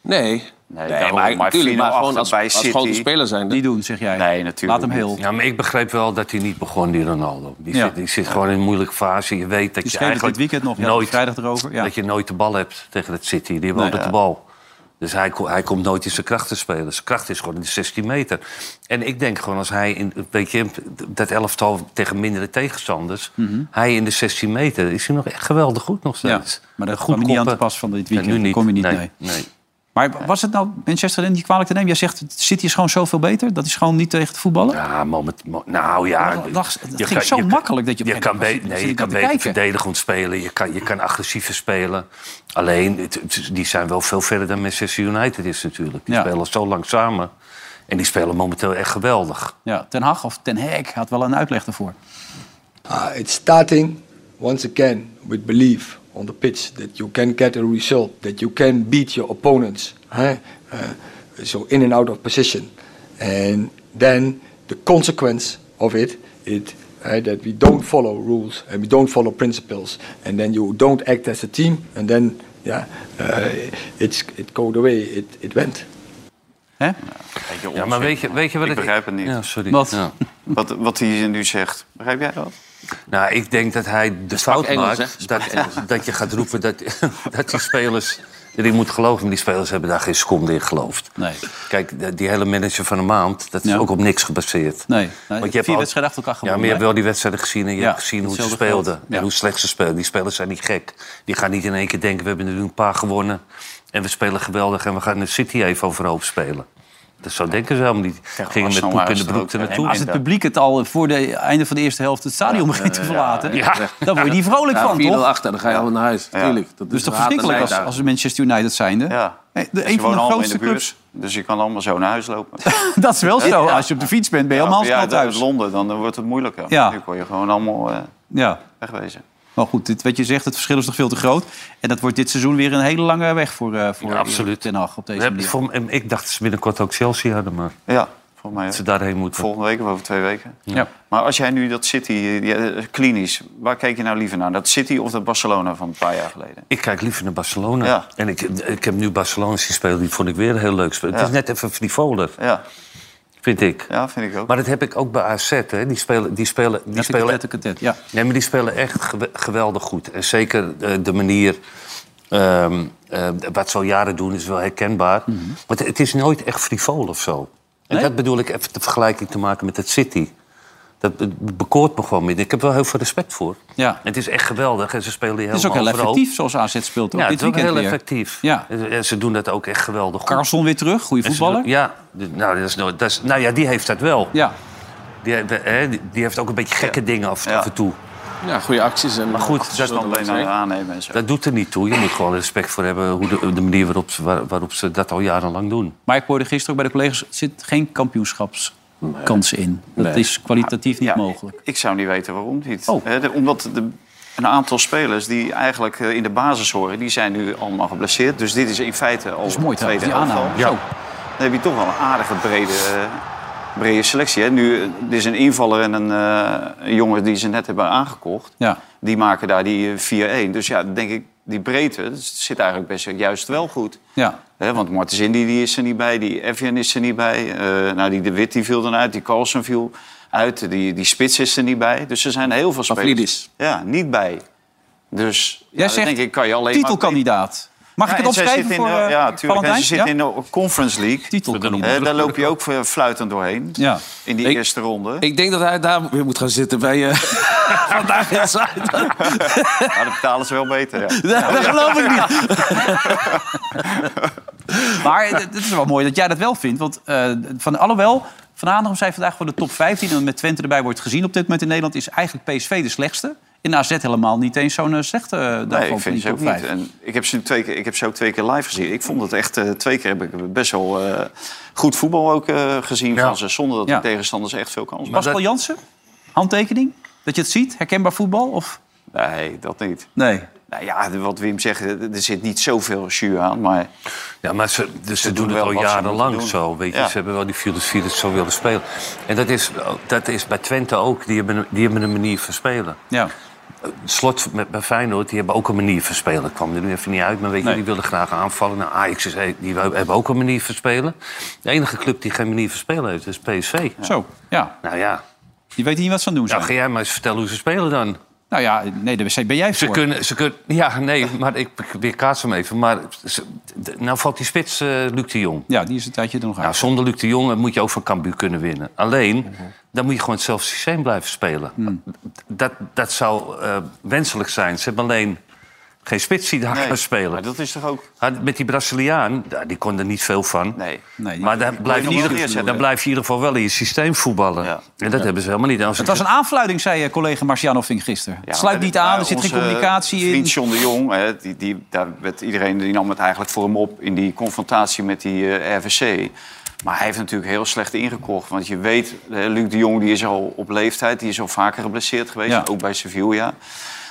Speaker 6: Nee.
Speaker 4: Nee, daarom. Maar
Speaker 6: natuurlijk,
Speaker 4: 4-0
Speaker 6: maar gewoon
Speaker 4: achter
Speaker 6: als,
Speaker 4: bij
Speaker 6: als
Speaker 4: City.
Speaker 6: grote speler zijn.
Speaker 2: Die doen, zeg jij.
Speaker 4: Nee, natuurlijk
Speaker 2: Laat hem heel.
Speaker 3: ja, maar ik begreep wel dat hij niet begon, die Ronaldo. Die,
Speaker 2: Ja.
Speaker 3: zit, die zit gewoon in een moeilijke fase. Je weet dat
Speaker 2: Die
Speaker 3: je
Speaker 2: schreef het dit
Speaker 3: eigenlijk
Speaker 2: weekend nog. Ja,
Speaker 3: nooit,
Speaker 2: vrijdag erover. Ja.
Speaker 3: dat je nooit de bal hebt tegen het City. Die hebben altijd de bal. Dus hij, ko- hij komt nooit in zijn kracht te spelen. Zijn kracht is gewoon in de 16 meter. En ik denk gewoon als hij, in, weet je, dat elftal tegen mindere tegenstanders... hij in de 16 meter, is hij nog echt geweldig goed nog
Speaker 2: Mhm. Ja.
Speaker 3: steeds.
Speaker 2: Maar dat
Speaker 3: Goed
Speaker 2: kwam niet aan
Speaker 3: koppen.
Speaker 2: te pas van dit
Speaker 3: En
Speaker 2: weekend.
Speaker 3: nu niet.
Speaker 2: Kom je niet mee.
Speaker 3: nee. nee.
Speaker 2: Maar was het nou Manchester United niet kwalijk te nemen? Jij zegt, City is gewoon zoveel beter. Dat is gewoon niet tegen het voetballen.
Speaker 3: Ja, moment, mo- nou ja.
Speaker 2: Dat lag- dat
Speaker 3: je
Speaker 2: ging
Speaker 3: kan-
Speaker 2: zo
Speaker 3: je kan-
Speaker 2: makkelijk dat je op een
Speaker 3: kan,
Speaker 2: gegeven
Speaker 3: be-
Speaker 2: moment
Speaker 3: nee,
Speaker 2: zit
Speaker 3: je
Speaker 2: ik
Speaker 3: kan
Speaker 2: naar te
Speaker 3: beter
Speaker 2: kijken.
Speaker 3: verdedigend spelen. Je kan, je kan agressiever spelen. Alleen, het- het- die zijn wel veel verder dan Manchester United is natuurlijk. Die
Speaker 2: Ja.
Speaker 3: spelen zo lang samen. En die spelen momenteel echt geweldig.
Speaker 2: Ja, Ten Hag of Ten Hag had wel een uitleg daarvoor.
Speaker 13: Uh, it's starting once again with belief on the pitch that you can get a result, that you can beat your opponents. hè? Uh, so in and out of position, and then the consequence of it, it eh, that we don't follow rules and we don't follow principles, and then you don't act as a team, and then yeah, uh, it's it go the way it, it went.
Speaker 2: Hè?
Speaker 3: Ja, maar weet je, weet je wat
Speaker 4: Ik begrijp het niet.
Speaker 3: Ja, sorry.
Speaker 2: Wat?
Speaker 3: Ja.
Speaker 4: Wat, wat hij nu zegt, begrijp jij dat?
Speaker 3: Nou, ik denk dat hij de fout
Speaker 6: Engels, hè?
Speaker 3: maakt dat, [LAUGHS] dat je gaat roepen dat, dat die spelers... Dat ik moet geloven, maar die spelers hebben daar geen seconde in geloofd.
Speaker 2: Nee.
Speaker 3: Kijk, de- die hele manager van een maand, dat is
Speaker 2: Ja.
Speaker 3: ook op niks gebaseerd.
Speaker 2: Nee. Nee, vier
Speaker 3: al-
Speaker 2: wedstrijden achter elkaar
Speaker 3: Ja, maar
Speaker 2: gewonnen,
Speaker 3: je hebt
Speaker 2: hè?
Speaker 3: wel die wedstrijden gezien en je
Speaker 2: Ja,
Speaker 3: hebt gezien hoe ze
Speaker 2: hetzelfde
Speaker 3: speelden.
Speaker 2: geld. Ja.
Speaker 3: En hoe slecht ze spelen. Die spelers zijn niet gek. Die gaan niet in één keer denken, we hebben er nu een paar gewonnen... en we spelen geweldig en we gaan de City even overhoop spelen. Dat zo denken ze helemaal niet. Gingen met
Speaker 4: Arsenal
Speaker 3: poep in
Speaker 4: is
Speaker 3: de
Speaker 4: dat
Speaker 3: broek
Speaker 4: ook.
Speaker 3: er
Speaker 4: Nee,
Speaker 3: naartoe.
Speaker 4: maar
Speaker 2: Als het publiek het al voor de einde van de eerste helft het stadion begint
Speaker 4: eh,
Speaker 2: te verlaten... dan word je niet vrolijk
Speaker 6: Ja,
Speaker 2: van,
Speaker 6: 4-0
Speaker 2: toch?
Speaker 6: achter, dan ga je allemaal naar huis. Tuurlijk. Dat
Speaker 2: Dus toch
Speaker 6: haat en
Speaker 2: verschrikkelijk als,
Speaker 6: nijd
Speaker 2: als Manchester United zijnde.
Speaker 4: Ja.
Speaker 2: Hey, de-
Speaker 4: Ze
Speaker 2: een van
Speaker 4: wonen
Speaker 2: de
Speaker 4: allemaal
Speaker 2: grootste
Speaker 4: in de buurt,
Speaker 2: clubs. [LAUGHS]
Speaker 4: Dus je kan allemaal zo naar huis lopen.
Speaker 2: Dat is wel zo. Als je op de fiets bent, ben je allemaal
Speaker 4: ja,
Speaker 2: snel
Speaker 4: uit
Speaker 2: thuis.
Speaker 4: Londen, dan eh, wordt het moeilijker.
Speaker 2: Ja.
Speaker 4: Nu kon je gewoon allemaal eh,
Speaker 2: Ja.
Speaker 4: wegwezen.
Speaker 2: Maar goed, dit, wat je zegt, het verschil is toch veel te groot. En dat wordt dit seizoen weer een hele lange weg voor, eh voor
Speaker 3: Ja, absoluut.
Speaker 2: Ten Hag op
Speaker 3: We
Speaker 2: deze
Speaker 3: hebben-
Speaker 2: manier.
Speaker 3: voor- en ik dacht dat ze binnenkort ook Chelsea hadden, maar
Speaker 4: Ja, volgens mij
Speaker 3: dat ze
Speaker 4: ook.
Speaker 3: daarheen moeten.
Speaker 4: Volgende week of over twee weken.
Speaker 2: Ja.
Speaker 4: Maar als jij nu dat City, eh, die, eh, klinisch, waar kijk je nou liever naar? Dat City of dat Barcelona van een paar jaar geleden?
Speaker 3: Ik kijk liever naar Barcelona.
Speaker 4: Ja.
Speaker 3: En ik, ik heb nu Barcelona zien spelen, die vond ik weer heel leuk spelen.
Speaker 4: Ja.
Speaker 3: Het is net even frivoler,
Speaker 4: Ja,
Speaker 3: vind ik.
Speaker 4: ja vind ik ook.
Speaker 3: Maar dat heb ik ook bij AZ, hè. Die spelen, die spelen, die
Speaker 2: Ja,
Speaker 3: spelen,
Speaker 2: teketet, teketet, Ja.
Speaker 3: nee, maar die spelen echt gewe- geweldig goed. En zeker eh, de manier... ehm, eh, wat ze al jaren doen is wel herkenbaar. Want het is nooit echt frivol of zo. En
Speaker 2: Nee?
Speaker 3: dat bedoel ik even de vergelijking te maken met het City. Dat be- bekoort me gewoon minder. Ik heb wel heel veel respect voor.
Speaker 2: ja.
Speaker 3: Het is echt geweldig en ze spelen die
Speaker 2: Het is ook
Speaker 3: helemaal
Speaker 2: heel
Speaker 3: overhoop.
Speaker 2: effectief, zoals AZ speelt ook
Speaker 3: Ja,
Speaker 2: dit
Speaker 3: het is ook
Speaker 2: weekend
Speaker 3: heel
Speaker 2: weer.
Speaker 3: effectief.
Speaker 2: Ja.
Speaker 3: En en ze doen dat ook echt geweldig goed.
Speaker 2: Carlson weer terug, goede
Speaker 3: En ze
Speaker 2: voetballer.
Speaker 3: doen- ja, d- nou, dat is, nooit- dat is, nou ja, die heeft dat wel.
Speaker 2: Ja.
Speaker 3: Die, he- hè, die, die heeft ook een beetje gekke dingen af,
Speaker 4: Ja.
Speaker 3: af en toe.
Speaker 6: daar. Ja, goede acties. En
Speaker 3: Maar goed, dat,
Speaker 4: Dan alleen naar aannemen en zo.
Speaker 3: dat doet er niet toe. Je moet gewoon respect voor hebben hoe de, de manier waarop ze, waar- waarop ze dat al jarenlang doen.
Speaker 2: Maar ik hoorde gisteren ook bij de collega's, er zit geen kampioenschapskans in. Dat is kwalitatief niet
Speaker 4: Ja,
Speaker 2: mogelijk.
Speaker 4: Ik zou niet weten waarom niet.
Speaker 2: Oh.
Speaker 4: Hè, de- omdat de, een aantal spelers die eigenlijk eh, in de basis horen... die zijn nu allemaal geblesseerd. Dus dit is in feite al
Speaker 2: Dat is mooi
Speaker 4: het tweede
Speaker 2: trouwens, die
Speaker 4: elftal.
Speaker 2: aanname. Zo.
Speaker 4: Dan heb je toch wel een aardige brede, eh, brede selectie. Hè? Nu, eh, er is een invaller en een, eh, een jongen die ze net hebben aangekocht.
Speaker 2: Ja.
Speaker 4: Die maken daar die eh, 4-1. Dus ja, dan denk ik, die breedte dat zit eigenlijk best juist wel goed.
Speaker 2: Ja.
Speaker 4: Hè, want Martens Indy die is er niet bij, die Evian is er niet bij. Eh, nou, die De Wit die viel dan uit, die Carlsen viel uit, die, die Spits is er niet bij. Dus er zijn heel veel spelers.
Speaker 6: Pavlidis.
Speaker 4: Ja, niet bij. Dus ja,
Speaker 2: Jij
Speaker 4: dat
Speaker 2: zegt
Speaker 4: denk ik, kan je alleen maar...
Speaker 2: titelkandidaat. Mag ik
Speaker 4: Ja,
Speaker 2: het
Speaker 4: en zij
Speaker 2: opschrijven
Speaker 4: zit in
Speaker 2: voor
Speaker 4: de-
Speaker 2: eh,
Speaker 4: Ja, tuurlijk. En
Speaker 2: Valentijn?
Speaker 4: ze zit
Speaker 2: Ja?
Speaker 4: in de Conference League.
Speaker 2: Titelkandidaat.
Speaker 4: Eh, daar loop je ook eh, fluitend doorheen.
Speaker 2: Ja.
Speaker 4: In die
Speaker 6: Ik-
Speaker 4: eerste ronde.
Speaker 6: Ik denk dat hij daar weer moet gaan zitten bij eh Vandaag in Zuid.
Speaker 4: Maar dat betalen ze wel beter. Ja.
Speaker 2: dat geloof ik niet. [LAUGHS] maar het- het is wel mooi dat jij dat wel vindt. Want eh, van, alhoewel, Van Aanigem zei vandaag voor de top 15... en met Twente erbij wordt gezien op dit moment in Nederland... is eigenlijk PSV de slechtste. In AZ helemaal niet eens zo'n eh, slechte eh,
Speaker 4: Nee,
Speaker 2: daarvan
Speaker 4: ik
Speaker 2: van
Speaker 4: vind
Speaker 2: die
Speaker 4: ze ook
Speaker 2: top
Speaker 4: niet.
Speaker 2: 5.
Speaker 4: En ik, heb ze nu twee keer, ik heb ze ook twee keer live gezien. Ik vond het echt... eh, twee keer heb ik best wel eh, goed voetbal ook eh, gezien
Speaker 3: Ja.
Speaker 4: van ze. Zonder dat
Speaker 2: Ja.
Speaker 4: de tegenstanders echt veel kans
Speaker 2: Pascal
Speaker 4: hadden.
Speaker 2: Jansen, handtekening? Dat je het ziet, herkenbaar voetbal? Of?
Speaker 4: Nee, dat niet.
Speaker 2: Nee.
Speaker 4: Nou ja, wat Wim zegt, er er zit niet zoveel jus aan. Maar
Speaker 3: Ja, maar ze, dus ze,
Speaker 4: doen
Speaker 3: doen, het
Speaker 4: wel
Speaker 3: al
Speaker 4: wat ze
Speaker 3: jarenlang
Speaker 4: moeten doen.
Speaker 3: zo. Weet je.
Speaker 4: Ja.
Speaker 3: Ze hebben wel die filosofie dat ze zo willen spelen. En dat is, dat is bij Twente ook. Die hebben, een- die hebben een manier van spelen.
Speaker 2: Ja.
Speaker 3: Slot met, bij Feyenoord, die hebben ook een manier van spelen. Het kwam er nu even niet uit, maar weet je, die wilden graag aanvallen. Nou, Ajax is, eh, die wou- hebben ook een manier van spelen. De enige club die geen manier van spelen heeft, is PSV.
Speaker 2: Zo, ja.
Speaker 3: Nou ja,
Speaker 2: Die weet niet wat ze aan het doen
Speaker 3: nou,
Speaker 2: zijn.
Speaker 3: ga jij maar eens vertellen hoe ze spelen dan.
Speaker 2: Nou ja, nee, daar ben jij
Speaker 3: Ze
Speaker 2: voor.
Speaker 3: kunnen, ze kunnen, ja, nee, maar ik weer kaats hem even. Maar ze- d- nou valt die spits eh, Luc de Jong.
Speaker 2: Ja, die is een tijdje er nog
Speaker 3: Nou,
Speaker 2: uit.
Speaker 3: zonder Luc de Jong moet je ook van Cambuur kunnen winnen. Alleen, dan moet je gewoon hetzelfde Mhm. systeem blijven spelen. Dat, dat zou eh, wenselijk zijn. Ze hebben alleen geen spits die daar
Speaker 4: Nee,
Speaker 3: kan spelen.
Speaker 4: Maar dat is toch ook...
Speaker 3: Maar met die Braziliaan, ja, die kon er niet veel van.
Speaker 4: Nee.
Speaker 2: Nee, die-
Speaker 3: Maar dan blijf, je
Speaker 4: niet
Speaker 3: in ieder-
Speaker 4: neerzetten.
Speaker 3: dan blijf je in ieder geval wel in je systeem voetballen.
Speaker 4: Ja.
Speaker 3: En dat hebben ze helemaal niet. Als
Speaker 2: Het was een aanfluiting, zei eh, collega Marcianoving gisteren.
Speaker 4: Ja,
Speaker 2: het sluit
Speaker 4: maar
Speaker 2: niet
Speaker 4: dit-
Speaker 2: aan,
Speaker 4: maar
Speaker 2: er zit geen
Speaker 4: onze eh,
Speaker 2: communicatie in.
Speaker 4: Vriend John de Jong, hè, die, die, daar werd iedereen die nam het eigenlijk voor hem op in die confrontatie met die eh, RVC. Maar hij heeft natuurlijk heel slecht ingekocht. Want je weet, eh, Luc de Jong die is al op leeftijd, die is al vaker geblesseerd geweest,
Speaker 2: Ja.
Speaker 4: ook bij Sevilla.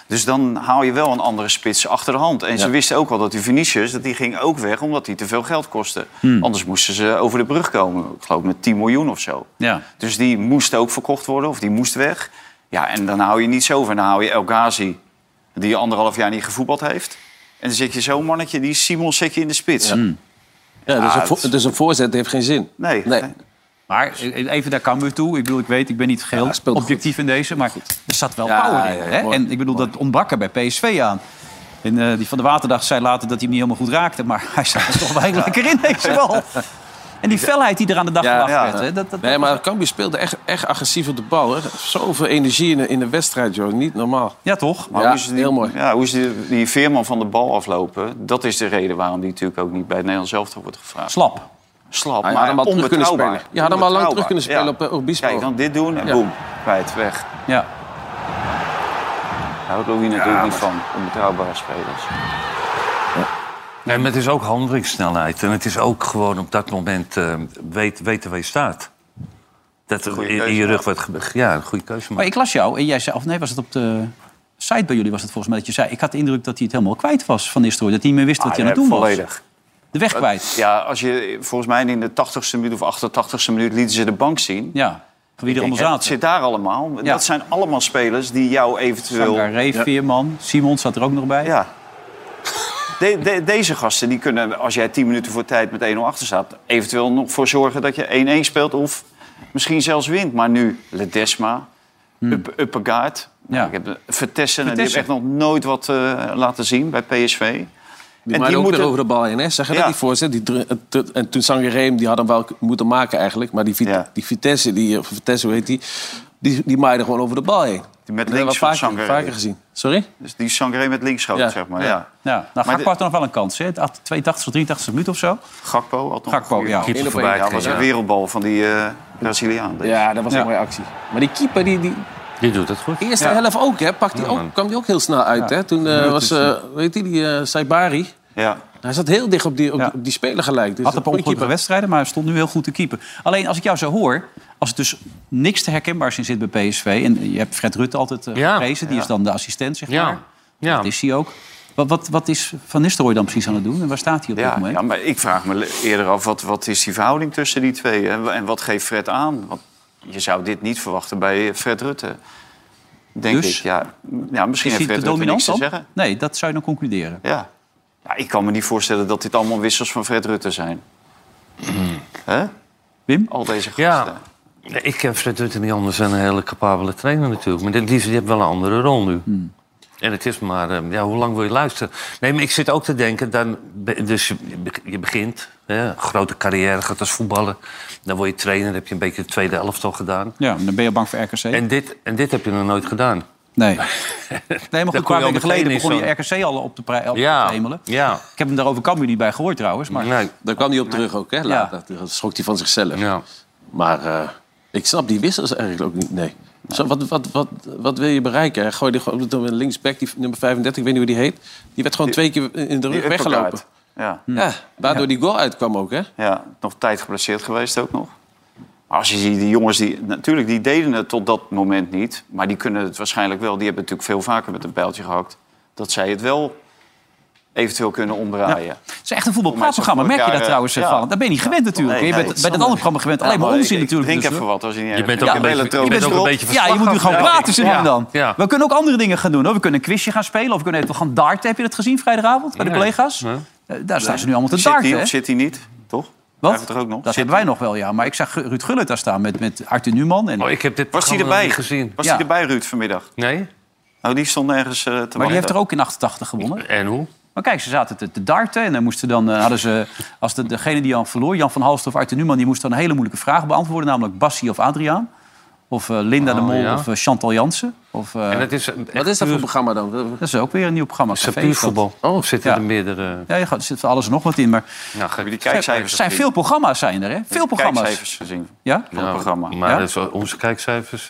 Speaker 4: Dus dan haal je wel een andere spits achter de hand. En ze wisten ook wel dat die Vinicius, dat die ging ook weg omdat die te veel geld kostte.
Speaker 6: Hmm.
Speaker 4: Anders moesten ze over de brug komen, ik geloof met 10 miljoen of zo.
Speaker 2: Ja.
Speaker 4: Dus die moest ook verkocht worden of die moest weg. Ja, en dan hou je niets over. Dan hou je El Ghazi, die anderhalf jaar niet gevoetbald heeft. En dan zit je zo'n mannetje, die Simon zet je in de spits.
Speaker 6: Ja, dus,
Speaker 4: Ah,
Speaker 6: een vo-
Speaker 4: het is-
Speaker 6: dus een voorzet heeft geen zin.
Speaker 4: Nee.
Speaker 6: Nee.
Speaker 2: Maar eh, even naar Cambuur toe. Ik bedoel, ik weet, ik ben niet geheel
Speaker 6: Ja, speelt
Speaker 2: objectief in deze. Maar er zat wel
Speaker 6: Ja,
Speaker 2: power in.
Speaker 6: ja,
Speaker 2: hè?
Speaker 6: mooi.
Speaker 2: en ik bedoel, dat ontbrak er bij PSV aan. En eh, die van de Waterdag zei later dat hij hem niet helemaal goed raakte. Maar [LAUGHS] hij zat er toch wel heel lekker in,
Speaker 4: [LAUGHS]
Speaker 2: deze bal. En die felheid die er aan de dag
Speaker 6: Ja,
Speaker 2: gebracht
Speaker 4: ja.
Speaker 2: werd. Hè? Dat, dat,
Speaker 6: Nee, maar Cambuur speelde echt, echt agressief op de bal. Hè. Zoveel energie in, de- in de wedstrijd, joh. Niet normaal.
Speaker 2: Ja, toch?
Speaker 4: Maar
Speaker 6: Ja,
Speaker 4: hoe is die,
Speaker 6: heel mooi.
Speaker 4: Ja, hoe is die, die veerman van de bal aflopen? Dat is de reden waarom die natuurlijk ook niet bij het Nederlands elftal wordt gevraagd.
Speaker 2: Slap.
Speaker 4: Slap,
Speaker 6: Hij had
Speaker 4: maar
Speaker 6: hem al terug kunnen
Speaker 4: onbetrouwbaar.
Speaker 6: spelen. Je had hem al lang
Speaker 4: Onbetrouwbaar.
Speaker 6: terug kunnen spelen
Speaker 4: Ja.
Speaker 6: op, eh, op Obispo.
Speaker 4: Kijk, dan dit doen en
Speaker 6: Ja.
Speaker 4: boem, kwijt, weg.
Speaker 2: Oh. Ja.
Speaker 4: Daar houdt Louis natuurlijk niet van, onbetrouwbare spelers.
Speaker 3: Nee, maar het is ook handelingssnelheid. En het is ook gewoon op dat moment eh, weet, weten waar je staat. Dat er
Speaker 4: Goeie
Speaker 3: in, in je
Speaker 4: keuze,
Speaker 3: rug wordt ge- Ja, een goede keuze.
Speaker 2: Maar
Speaker 3: maken.
Speaker 2: ik las jou en jij zei... Of nee, was het op de site bij jullie was het volgens mij dat je zei... Ik had de indruk dat hij het helemaal kwijt was van Nistelrooy. Dat hij niet meer wist wat hij aan het doen was.
Speaker 4: Ah, Eh, Volledig.
Speaker 2: De weg kwijt.
Speaker 4: Ja, als je, volgens mij in de 80ste minuut of 88ste minuut lieten ze de bank zien.
Speaker 2: Ja. Van wie er onder
Speaker 4: Kijk, het
Speaker 2: zaten.
Speaker 4: zit daar allemaal.
Speaker 2: Ja.
Speaker 4: Dat zijn allemaal spelers die jou eventueel...
Speaker 2: Sangaré, Veerman, Simon zat er ook nog bij.
Speaker 4: Ja. De- de- deze gasten die kunnen, als jij 10 minuten voor tijd met 1-0 achter staat, eventueel nog voor zorgen dat je 1-1 speelt of misschien zelfs wint. Maar nu Ledesma, Up, Uppegaard,
Speaker 2: Ja.
Speaker 4: ik heb de- Vertessen, en die
Speaker 2: Vertessen.
Speaker 4: hebben echt nog nooit wat eh, laten zien bij PSV.
Speaker 6: Die maar ook weer over de bal heen, hè? Zeggen
Speaker 4: Ja.
Speaker 6: dat die voorzet. Die dru- en tu- en toen Sangereem, die had hem wel k- moeten maken eigenlijk. Maar die, Vit-
Speaker 4: Ja.
Speaker 6: die Vitesse, die, eh, of Vitesse, hoe heet die? Die, die maaide gewoon over de bal heen.
Speaker 4: met
Speaker 6: Dat hebben we
Speaker 4: links van
Speaker 6: vaker,
Speaker 4: Sangaré.
Speaker 6: vaker gezien. Sorry?
Speaker 4: Dus die Sangaré met links schoot,
Speaker 6: Ja.
Speaker 4: zeg maar. Ja.
Speaker 6: Ja.
Speaker 2: Ja, nou, Gakpo
Speaker 4: dit-
Speaker 2: had er nog wel een kans. Hè? Het had 82 of 83 minuut of zo.
Speaker 4: Gakpo had nog
Speaker 2: Gakpo,
Speaker 4: een goede
Speaker 2: ja.
Speaker 4: kans.
Speaker 6: Eén op
Speaker 3: voorbij
Speaker 6: één.
Speaker 4: Ja, dat was een wereldbal van die eh, Braziliaan.
Speaker 6: Ja, dat was
Speaker 2: Ja.
Speaker 6: een mooie actie. Maar die keeper, die, die
Speaker 3: Die doet het goed.
Speaker 6: eerste helft ook, hè, pakt die
Speaker 3: Ja, man.
Speaker 6: ook, kwam die ook heel snel uit. Hè? Toen eh, was, eh weet je, die eh, Saibari.
Speaker 4: Ja.
Speaker 6: Hij zat heel dicht op die, op
Speaker 2: Ja.
Speaker 6: die, op die speler gelijk.
Speaker 2: Had
Speaker 6: Dus
Speaker 2: een
Speaker 6: dat-
Speaker 2: paar ongelukkige
Speaker 6: keeper.
Speaker 2: wedstrijden, maar stond nu heel goed te keeper. Alleen als ik jou zo hoor, als het dus niks te herkenbaars in zit bij PSV... en je hebt Fred Rutte altijd eh
Speaker 3: Ja.
Speaker 2: geprezen, die is dan de assistent, zeg
Speaker 3: Ja.
Speaker 2: maar.
Speaker 3: Ja.
Speaker 2: Dat is hij ook. Wat, wat, wat is Van Nistelrooy dan precies aan het doen en waar staat hij op dit
Speaker 4: Ja,
Speaker 2: moment?
Speaker 4: ja, maar ik vraag me le- eerder af, wat, wat is die verhouding tussen die twee? En, wa- en wat geeft Fred aan? Want je zou dit niet verwachten bij eh, Fred Rutte. Denk
Speaker 2: Dus?
Speaker 4: ik, ja. ja misschien
Speaker 2: is
Speaker 4: heeft
Speaker 2: hij
Speaker 4: Fred
Speaker 2: te
Speaker 4: Rutte niks
Speaker 2: dominant
Speaker 4: te
Speaker 2: dan?
Speaker 4: zeggen.
Speaker 2: Nee, dat zou je dan concluderen.
Speaker 4: Ja. ja. Ik kan me niet voorstellen dat dit allemaal wissels van Fred Rutte zijn. Hè?
Speaker 2: Hmm. Wim?
Speaker 4: Al deze gasten.
Speaker 3: Ja. Nee, Ik ken Fred Rutte niet anders dan een hele capabele trainer natuurlijk. Maar die, die die heeft wel een andere rol nu. En het is maar, eh, ja, hoe lang wil je luisteren? Nee, maar ik zit ook te denken, dan, be- dus je, be- je begint, hè, grote carrière, gaat als voetballer. Dan word je trainer, heb je een beetje de tweede elftal gedaan.
Speaker 2: Ja, dan ben je bang voor RKC.
Speaker 3: En dit, en dit heb je nog nooit gedaan.
Speaker 2: Nee.
Speaker 3: [LAUGHS]
Speaker 2: Nee, maar goed, een
Speaker 3: kon
Speaker 2: paar
Speaker 3: je al
Speaker 2: weken geleden
Speaker 3: meteen in
Speaker 2: begon je
Speaker 3: zo'n-
Speaker 2: RKC al op te, pre- op
Speaker 3: Ja,
Speaker 2: te hemelen.
Speaker 3: ja.
Speaker 2: Ik heb hem daarover Cambuur niet bij gehoord trouwens. Maar
Speaker 3: Nee,
Speaker 6: Daar kwam hij op terug ook, hè? Later. Dat schrok hij van zichzelf.
Speaker 3: ja.
Speaker 6: Maar eh, ik snap die wissels eigenlijk ook niet. Nee. Zo, wat, wat, wat, wat wil je bereiken? hè? Gooi die gewoon een linksback, die nummer 35, ik weet niet hoe die heet. Die werd gewoon twee keer in de
Speaker 4: Die
Speaker 6: rug weggelopen.
Speaker 4: uppercut. Ja.
Speaker 6: Ja, waardoor die goal uitkwam ook, hè?
Speaker 4: ja, nog tijd geblesseerd geweest ook nog. Maar als je ziet, die jongens, die, natuurlijk, die deden het tot dat moment niet. Maar die kunnen het waarschijnlijk wel. Die hebben natuurlijk veel vaker met een pijltje gehakt. Dat zij het wel eventueel kunnen omdraaien.
Speaker 2: het is echt een voetbalpraatprogramma. Merk je dat trouwens,
Speaker 4: Ja.
Speaker 2: van? Daar ben je niet gewend natuurlijk.
Speaker 4: Nee,
Speaker 2: je
Speaker 4: nee,
Speaker 2: bent
Speaker 4: dat
Speaker 2: bij dat andere programma gewend. Alleen maar onzin natuurlijk.
Speaker 4: Drink
Speaker 2: dus,
Speaker 4: even
Speaker 2: hoor.
Speaker 4: wat als je niet
Speaker 3: Je bent ook een beetje- je bent ook een beetje
Speaker 2: Ja, je moet nu gewoon
Speaker 3: Ja,
Speaker 2: praten ze
Speaker 3: ja,
Speaker 2: dan.
Speaker 3: ja.
Speaker 2: We kunnen ook andere dingen gaan doen. Hoor. We kunnen een quizje gaan spelen. Of we kunnen even gaan darten. Heb je dat gezien vrijdagavond bij de
Speaker 3: Nee.
Speaker 2: collega's?
Speaker 3: Nee.
Speaker 2: Eh, Daar staan ze nu allemaal te
Speaker 4: Zit hij
Speaker 2: darten. hè?
Speaker 4: of zit hij niet? Toch?
Speaker 2: Wat?
Speaker 4: Hebben we er ook nog?
Speaker 2: Dat
Speaker 4: Zit-
Speaker 2: hebben wij nog wel, ja. Maar ik zag Ruud Gullit daar staan met, met Arthur Newman. En,
Speaker 3: Oh, ik heb dit
Speaker 4: Was hij
Speaker 3: programma
Speaker 4: erbij?
Speaker 3: nog niet gezien.
Speaker 4: Was
Speaker 2: eh, Ja.
Speaker 4: hij erbij, Ruud, vanmiddag?
Speaker 3: Nee?
Speaker 4: Nou, die stond nergens eh, te wachten.
Speaker 2: maar die heeft er ook in 88 gewonnen.
Speaker 3: En hoe?
Speaker 2: Maar kijk, ze zaten te, te darten en dan moesten dan, eh, hadden ze, als de, degene die dan verloor, Jan van Halst of Arthur Newman, die moest dan een hele moeilijke vraag beantwoorden, namelijk Bassi of Adriaan. Of eh, Linda de
Speaker 3: Oh,
Speaker 2: Mol
Speaker 3: ja.
Speaker 2: of eh, Chantal Jansen. Of, eh,
Speaker 3: En het is
Speaker 6: Wat is dat voor programma dan?
Speaker 2: Dat is ook weer een nieuw programma. Café is dat.
Speaker 3: voetbal. Oh, zitten
Speaker 2: Ja.
Speaker 3: er meerdere...
Speaker 2: Ja, je gaat- er zit van alles en nog wat in. Maar
Speaker 3: Nou, ga ik
Speaker 4: die
Speaker 3: die
Speaker 2: er
Speaker 4: kijkcijfers
Speaker 2: zijn
Speaker 4: gezien?
Speaker 2: veel programma's zijn er, hè? Veel programma's.
Speaker 4: Kijkcijfers gezien
Speaker 2: Ja?
Speaker 4: van het programma.
Speaker 3: Maar
Speaker 2: Ja?
Speaker 3: dat is wel onze kijkcijfers.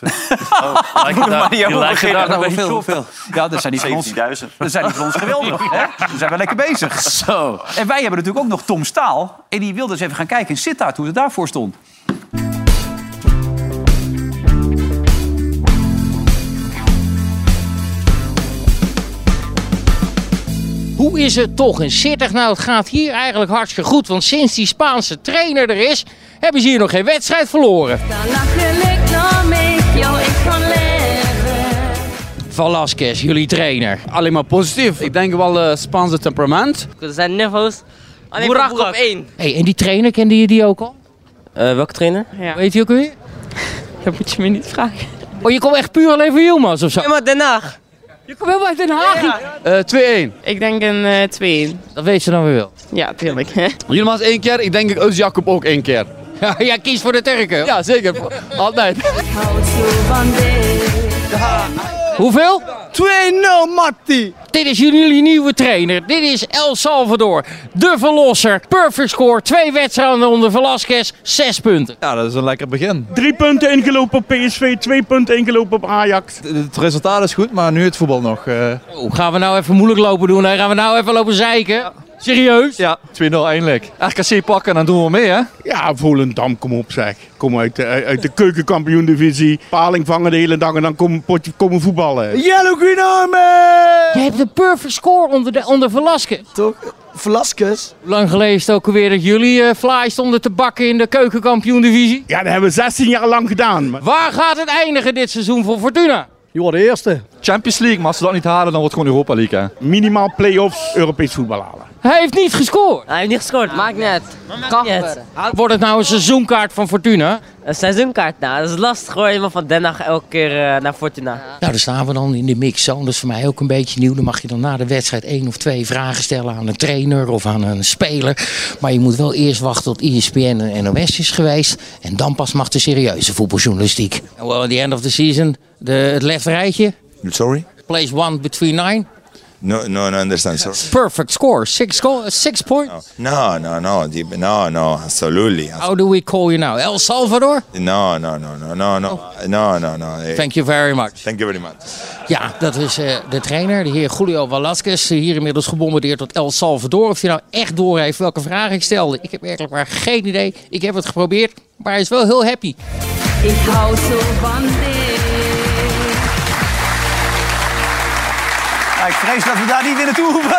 Speaker 2: [LAUGHS]
Speaker 3: eh. [LAUGHS]
Speaker 4: Moeten we maar niet over
Speaker 3: lijken
Speaker 4: beginnen.
Speaker 3: daar nou
Speaker 2: Weet je hoeveel? Ja, dat zijn die van ons.
Speaker 4: 17.000.
Speaker 2: Dat zijn die van ons geweldig. Hè? Dan zijn we lekker bezig. Zo. En wij hebben natuurlijk ook nog Tom Staal. En die wilde eens even gaan kijken in Sittard hoe het daarvoor stond.
Speaker 8: Hoe is het toch in Sittard? Nou, het gaat hier eigenlijk hartstikke goed. Want sinds die Spaanse trainer er is, hebben ze hier nog geen wedstrijd verloren.
Speaker 14: Dan lachel ik dan mee, jou ik kan leven.
Speaker 8: Velasquez, jullie trainer.
Speaker 12: Alleen maar positief. Ik denk wel Spaanse temperament.
Speaker 14: Er zijn niveaus. Alleen maar op één.
Speaker 8: Hey, en die trainer, kende je die ook al?
Speaker 14: welke trainer? Ja.
Speaker 8: Weet je ook weer?
Speaker 14: Dat moet je me niet vragen.
Speaker 8: Oh, je komt echt puur alleen voor Yilmaz of zo?
Speaker 14: maar Den Haag.
Speaker 8: Je komt helemaal uit Den Haag.
Speaker 14: Ik denk een 2-1.
Speaker 8: Dat weet ze dan weer wel.
Speaker 14: Ja, tuurlijk. Hè?
Speaker 12: Yilmaz één keer, ik denk Eus Jacob ook één keer.
Speaker 8: ja, [LAUGHS] kies voor de Turken.
Speaker 12: Ja, zeker. Altijd.
Speaker 14: Houd zo van dit.
Speaker 8: Hoeveel? 2-0, Matti. Dit is jullie nieuwe trainer. Dit is El Salvador. De verlosser. Perfect score. Twee wedstrijden onder Velasquez. Zes punten.
Speaker 12: Ja, dat is een lekker begin.
Speaker 8: Drie punten ingelopen op PSV. Twee punten ingelopen op Ajax.
Speaker 12: Het resultaat is goed, maar nu het voetbal nog. eh.
Speaker 8: Oh, gaan we nou even moeilijk lopen doen? Hè? Gaan we nou even lopen zeiken? Serieus?
Speaker 12: Ja, 2-0 eindelijk. RKC pakken, dan doen we mee, hè?
Speaker 15: Ja, Volendam, kom op zeg. Kom uit de, uit de keukenkampioen-divisie. Paling vangen de hele dag en dan komen, potje- komen voetballen.
Speaker 12: Yellow Green
Speaker 8: Je hebt de perfect score onder, de, onder Velasquez.
Speaker 12: Toch? Velasquez?
Speaker 8: Hoe lang geleden is het ook alweer dat jullie eh fly stonden te bakken in de keukenkampioen-divisie?
Speaker 15: Ja, dat hebben we 16 jaar lang gedaan. Maar...
Speaker 8: Waar gaat het eindigen dit seizoen voor Fortuna?
Speaker 12: Je wordt de eerste. Champions League, maar als ze dat niet halen, dan wordt het gewoon Europa League, hè?
Speaker 15: Minimaal play-offs, Europees voetbal halen.
Speaker 8: Hij heeft niet gescoord.
Speaker 14: Hij heeft niet gescoord. Maakt net. Kan niet.
Speaker 8: Wordt het nou een seizoenkaart van Fortuna?
Speaker 14: Een seizoenkaart, nou, dat is lastig hoor. Iemand van Den Haag elke keer eh, naar Fortuna.
Speaker 8: Nou, daar staan we dan in de mix. Zo, dat is voor mij ook een beetje nieuw. Dan mag je dan na de wedstrijd één of twee vragen stellen aan een trainer of aan een speler. Maar je moet wel eerst wachten tot E ESPN en NOS is geweest. En dan pas mag de serieuze voetbaljournalistiek. And Well, at the end of the season, de, het left rijtje.
Speaker 1: Sorry?
Speaker 8: Place one between nine.
Speaker 1: No, no, no, understand. Sorry. Oh.
Speaker 8: Perfect score. Six, goal, six points.
Speaker 1: No, no, no, no, no, absolutely.
Speaker 8: How do we call you now? El Salvador? Oh.
Speaker 1: No, no, no, no, no, no, no, no, eh. no.
Speaker 8: Thank you very much.
Speaker 1: Thank you very much.
Speaker 8: Ja, dat is eh, de trainer, de heer Julio Velasquez. eh, Hier inmiddels gebombardeerd tot El Salvador. Of hij nou echt door heeft welke vraag ik stelde. Ik heb werkelijk maar geen idee. Ik heb het geprobeerd, maar hij is wel heel happy.
Speaker 14: Ik hou zo van dit.
Speaker 2: Nou, ik vrees dat we daar niet weer naartoe hoeven.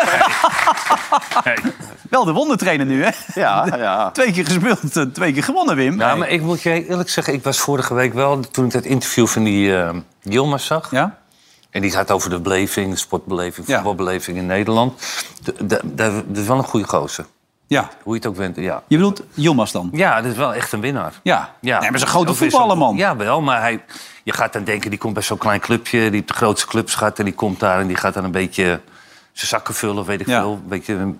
Speaker 2: [LAUGHS] Wel de wondertrainer nu, hè? [LAUGHS]
Speaker 4: Ja, ja.
Speaker 2: Twee keer gespeeld, eh, twee keer gewonnen, Wim.
Speaker 3: Nou, maar ik moet je eerlijk zeggen, ik was vorige week wel... toen ik dat interview van die eh Yilmaz zag...
Speaker 2: Ja?
Speaker 3: En die gaat over de beleving, sportbeleving,
Speaker 2: Ja.
Speaker 3: voetbalbeleving in Nederland. D- d- d- Dat is wel een goede gozer.
Speaker 2: Ja.
Speaker 3: Hoe je het ook wint, ja.
Speaker 2: Je bedoelt Jomas dan?
Speaker 3: Ja, dat is wel echt een winnaar.
Speaker 2: Ja.
Speaker 3: Ja.
Speaker 2: Nee, maar ze een grote
Speaker 3: Ook weer zo'n-
Speaker 2: voetballer, man.
Speaker 3: Ja, wel, maar hij, je gaat dan denken, die komt bij zo'n klein clubje... die op de grootste clubs gaat en die komt daar... en die gaat dan een beetje zijn zakken vullen, weet ik
Speaker 2: Ja.
Speaker 3: veel. Weet je,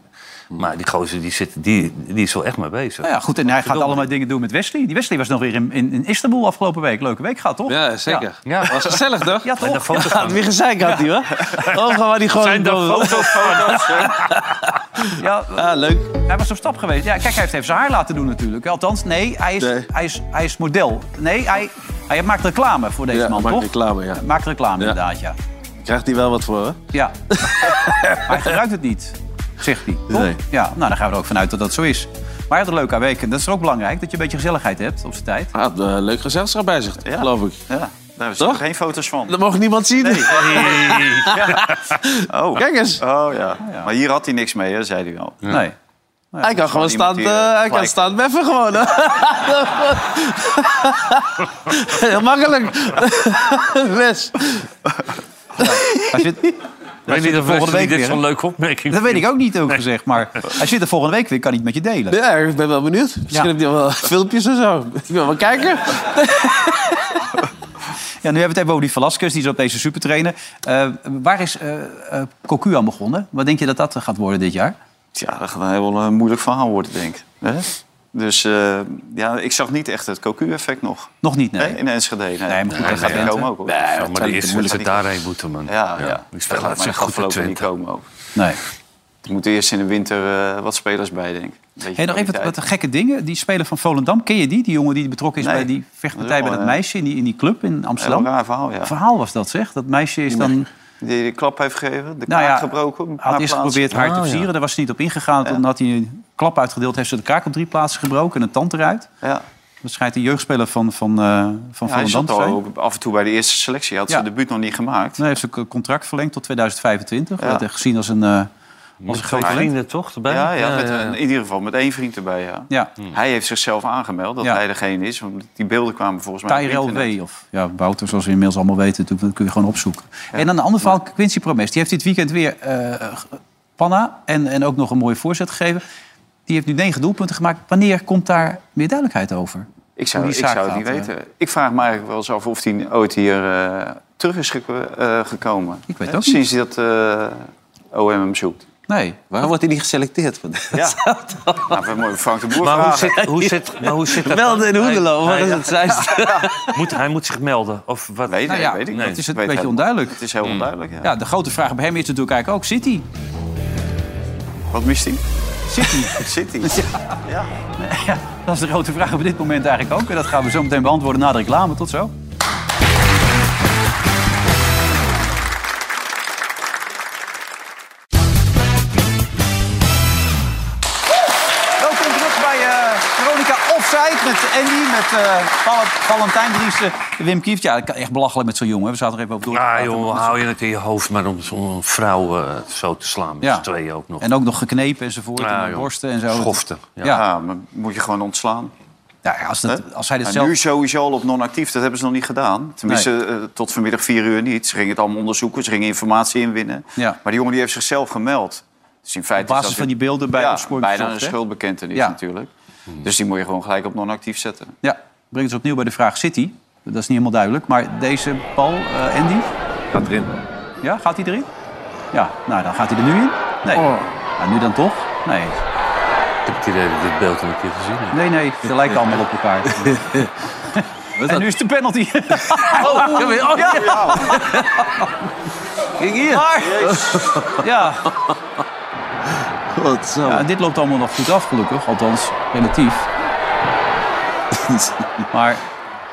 Speaker 3: maar die gozer, die, zit, die, die is wel echt mee bezig.
Speaker 2: Nou ja, goed. En hij gaat allemaal dingen doen met Wesley. Die Wesley was nog weer in, in, in Istanbul afgelopen week. Leuke week gehad, toch?
Speaker 6: Ja, zeker.
Speaker 3: Ja.
Speaker 6: was gezellig, toch?
Speaker 2: Ja,
Speaker 3: En de
Speaker 2: toch?
Speaker 3: foto's van hem.
Speaker 6: Wie gezeik had die, hoor. Oh, gaan we die gewoon...
Speaker 3: Zijn daar foto's, foto's?
Speaker 2: Ja,
Speaker 6: Ah, leuk.
Speaker 2: hij was op stap geweest. Ja, kijk, hij heeft even zijn haar laten doen natuurlijk. Althans, nee, hij is,
Speaker 6: Nee.
Speaker 2: Hij is, hij is model. Nee, hij, hij maakt reclame voor deze
Speaker 6: Ja,
Speaker 2: man,
Speaker 6: maakt
Speaker 2: toch?
Speaker 6: reclame, ja.
Speaker 2: Maakt reclame,
Speaker 6: Ja.
Speaker 2: inderdaad, ja.
Speaker 6: Krijgt hij wel wat voor, hè? [LAUGHS]
Speaker 2: Ja. hij gebruikt het niet, zegt hij. toch?
Speaker 6: Nee.
Speaker 2: Ja, nou, dan gaan we er ook vanuit dat dat zo is. Maar hij had een leuke week. En dat is ook belangrijk, dat je een beetje gezelligheid hebt op zijn tijd.
Speaker 6: Hij had een leuk gezelschap bij zich, geloof ik.
Speaker 4: Ja, daar hebben ze
Speaker 6: Toch?
Speaker 4: geen foto's van.
Speaker 6: Dat mocht niemand zien. [LAUGHS]
Speaker 4: Oh.
Speaker 6: Kijk eens.
Speaker 4: Oh ja. Maar hier had hij niks mee, hè, zei hij wel.
Speaker 2: Nee.
Speaker 6: Hij kan gewoon
Speaker 4: iemand
Speaker 6: staan,
Speaker 4: die,
Speaker 6: eh,
Speaker 4: eh,
Speaker 6: hij kan
Speaker 4: gelijk-
Speaker 6: staan beffen gewoon. hè. Heel makkelijk. Wes.
Speaker 2: Hij zit,
Speaker 6: [LAUGHS]
Speaker 3: Weet niet of
Speaker 2: volgende
Speaker 3: Wesley
Speaker 2: week
Speaker 3: dit
Speaker 2: weer, hè?
Speaker 3: zo'n leuke opmerking
Speaker 2: dat weet ik ook niet, ook gezegd. Maar hij zit er volgende week weer, kan niet met je delen.
Speaker 6: Ja, ik ben wel benieuwd.
Speaker 2: Ja.
Speaker 6: Misschien heb je wel [LAUGHS] filmpjes of zo. Ik wil wel kijken.
Speaker 2: Ja, nu hebben we het even over die Velasquez, die is op deze supertrainer. Eh, waar is eh eh, Cocu aan begonnen? Wat denk je dat dat gaat worden dit jaar?
Speaker 4: Ja, dat gaat een heel eh, moeilijk verhaal worden, denk ik. Hè? Dus eh, ja, ik zag niet echt het cocu-effect nog.
Speaker 2: Nog niet,
Speaker 6: Eh,
Speaker 4: nee. In Enschede, nee.
Speaker 2: Nee, maar goed, dat
Speaker 4: dat gaat
Speaker 2: gaat
Speaker 4: niet
Speaker 2: Twente.
Speaker 4: komen ook. hoor.
Speaker 2: Nee,
Speaker 4: Dat
Speaker 2: maar
Speaker 4: gaat
Speaker 2: die
Speaker 4: niet.
Speaker 2: eerste
Speaker 4: Dat
Speaker 2: moeten
Speaker 4: gaat
Speaker 3: daarheen
Speaker 4: niet.
Speaker 3: moeten, man.
Speaker 4: Ja,
Speaker 3: Ja.
Speaker 4: ja.
Speaker 3: Ik speel
Speaker 4: Ja,
Speaker 3: laat
Speaker 4: maar
Speaker 3: zich
Speaker 4: dat
Speaker 3: goed
Speaker 4: geloof
Speaker 3: voor
Speaker 4: ik niet
Speaker 3: Twente.
Speaker 4: komen ook.
Speaker 2: Nee.
Speaker 4: Er moeten eerst in de winter eh, wat spelers bij, denk ik. Beetje
Speaker 2: Hey, nog even wat,
Speaker 4: kwaliteit.
Speaker 2: wat gekke dingen. Die speler van Volendam, ken je die? Die jongen die betrokken is
Speaker 4: Nee.
Speaker 2: bij die vechtpartij
Speaker 4: Dat
Speaker 2: bij
Speaker 4: is wel,
Speaker 2: dat
Speaker 4: eh,
Speaker 2: meisje in die, in die club in Amsterdam.
Speaker 4: Heel raar verhaal, ja.
Speaker 2: verhaal was dat, zeg. Dat meisje is dan...
Speaker 4: Die de klap heeft gegeven, de
Speaker 2: Nou
Speaker 4: kaak
Speaker 2: ja,
Speaker 4: gebroken. op
Speaker 2: Had
Speaker 4: haar
Speaker 2: eerst
Speaker 4: plaats.
Speaker 2: geprobeerd haar te
Speaker 4: Oh, ja.
Speaker 2: versieren. Daar was ze niet op ingegaan. Toen had hij een klap uitgedeeld. Heeft ze de kaak op drie plaatsen gebroken en een tand eruit.
Speaker 4: Ja.
Speaker 2: Dat schijnt een jeugdspeler van, van, eh van
Speaker 4: Ja,
Speaker 2: Volendam
Speaker 4: hij zat
Speaker 2: te zijn.
Speaker 4: al op- af en toe bij de eerste selectie. Hij had
Speaker 2: Ja.
Speaker 4: zijn debuut nog niet gemaakt.
Speaker 2: Nee, hij heeft zijn contract verlengd tot 2025.
Speaker 4: Ja.
Speaker 2: Dat werd gezien als een, eh als een groot talent.
Speaker 3: toch?
Speaker 4: Ja, ja,
Speaker 3: Ja,
Speaker 4: met
Speaker 3: ja,
Speaker 4: een-
Speaker 3: ja.
Speaker 4: in ieder geval met één vriend erbij. Ja.
Speaker 2: Ja.
Speaker 3: Hmm.
Speaker 4: Hij heeft zichzelf aangemeld dat
Speaker 2: Ja.
Speaker 4: hij degene is. Want die beelden kwamen volgens mij. op
Speaker 2: Tyrell
Speaker 4: internet.
Speaker 2: W. Of, ja, Wouter, zoals we inmiddels allemaal weten. natuurlijk, Dat kun je gewoon opzoeken. En dan een ander verhaal, Quincy Promes. Die heeft dit weekend weer eh, g- panna en, en ook nog een mooie voorzet gegeven. Die heeft nu negen doelpunten gemaakt. Wanneer komt daar meer duidelijkheid over?
Speaker 4: Ik zou,
Speaker 2: Hoe
Speaker 4: ik
Speaker 2: die
Speaker 4: zou
Speaker 2: zaak
Speaker 4: het niet
Speaker 2: gaat, eh.
Speaker 4: weten. Ik vraag me eigenlijk wel eens af of hij ooit hier eh, terug is geko- eh, gekomen.
Speaker 2: Ik weet
Speaker 4: Hè,
Speaker 2: ook niet.
Speaker 4: Sinds dat eh, OM hem zoekt.
Speaker 2: Nee.
Speaker 16: Waarom wordt hij niet geselecteerd? Van
Speaker 4: Ja. nou, we moeten Frank de
Speaker 3: [LAUGHS]
Speaker 4: Boer
Speaker 3: Maar hoe,
Speaker 4: vragen.
Speaker 3: zit, hoe, zit, maar hoe zit dat?
Speaker 16: Melden in Hoendelo, wat
Speaker 3: Hij-
Speaker 16: is het zijste?
Speaker 3: [LAUGHS] moet, hij moet zich melden. Of wat?
Speaker 4: Weet,
Speaker 2: Nou ja,
Speaker 4: weet ik
Speaker 2: dat
Speaker 4: niet.
Speaker 2: is het
Speaker 4: Weet
Speaker 2: een beetje
Speaker 4: hij-
Speaker 2: onduidelijk.
Speaker 4: Het is
Speaker 3: Hmm.
Speaker 4: heel onduidelijk, ja.
Speaker 2: Ja, de grote vraag bij hem is natuurlijk eigenlijk ook... Zit hij?
Speaker 4: Wat mist hij?
Speaker 2: Zit hij?
Speaker 4: [LAUGHS] Zit hij? Ja.
Speaker 2: Ja, dat is de grote vraag op dit moment eigenlijk ook. En dat gaan we zo meteen beantwoorden na de reclame. Tot zo. Welkom terug bij eh, Veronica Offside met Andy, met eh, Val- Valentijn Driessen, Wim Kieft. Ja, echt belachelijk met zo'n jongen. We zaten er even over door. te
Speaker 3: Ah,
Speaker 2: praten.
Speaker 3: joh, hou je het in je hoofd maar om zo'n vrouw eh, zo te slaan? Met
Speaker 2: Ja.
Speaker 3: z'n tweeën ook nog.
Speaker 2: En ook nog geknepen enzovoort.
Speaker 3: Ja,
Speaker 2: en
Speaker 3: joh.
Speaker 2: borsten en zo.
Speaker 3: Schoften,
Speaker 2: Ja.
Speaker 3: ja.
Speaker 4: Ja, Ah, maar moet je gewoon ontslaan.
Speaker 2: Nou ja, als, dat, als hij dit
Speaker 4: En
Speaker 2: zelf...
Speaker 4: nu sowieso al op non-actief, dat hebben ze nog niet gedaan. Tenminste, eh, tot vanmiddag vier uur niet. Ze gingen het allemaal onderzoeken, ze gingen informatie inwinnen.
Speaker 2: Ja.
Speaker 4: Maar die jongen die heeft zichzelf gemeld. Dus in feite
Speaker 2: Op basis
Speaker 4: is dat
Speaker 2: van die beelden bij
Speaker 4: ja,
Speaker 2: opsporingszocht,
Speaker 4: bijna een
Speaker 2: hè?
Speaker 4: schuldbekentenis
Speaker 2: Ja.
Speaker 4: natuurlijk. Dus die moet je gewoon gelijk op non-actief zetten.
Speaker 2: Ja, brengt ons opnieuw bij de vraag City. Dat is niet helemaal duidelijk. Maar deze bal, eh, Andy,
Speaker 6: Gaat erin.
Speaker 2: ja, gaat hij erin? Ja, nou dan gaat hij er nu in. Nee. Nou, nu dan toch? Nee.
Speaker 3: Ik heb het idee dat ik dit beeld al een keer gezien heb.
Speaker 2: Nee, nee, ze lijken allemaal op
Speaker 16: [LAUGHS]
Speaker 2: elkaar. en nu is de penalty.
Speaker 16: oh, ja.
Speaker 2: Kijk hier. Maar, ja.
Speaker 16: Wat zo.
Speaker 2: ja, en dit loopt allemaal nog goed af, gelukkig. Althans,
Speaker 4: [LAUGHS]
Speaker 2: relatief. Maar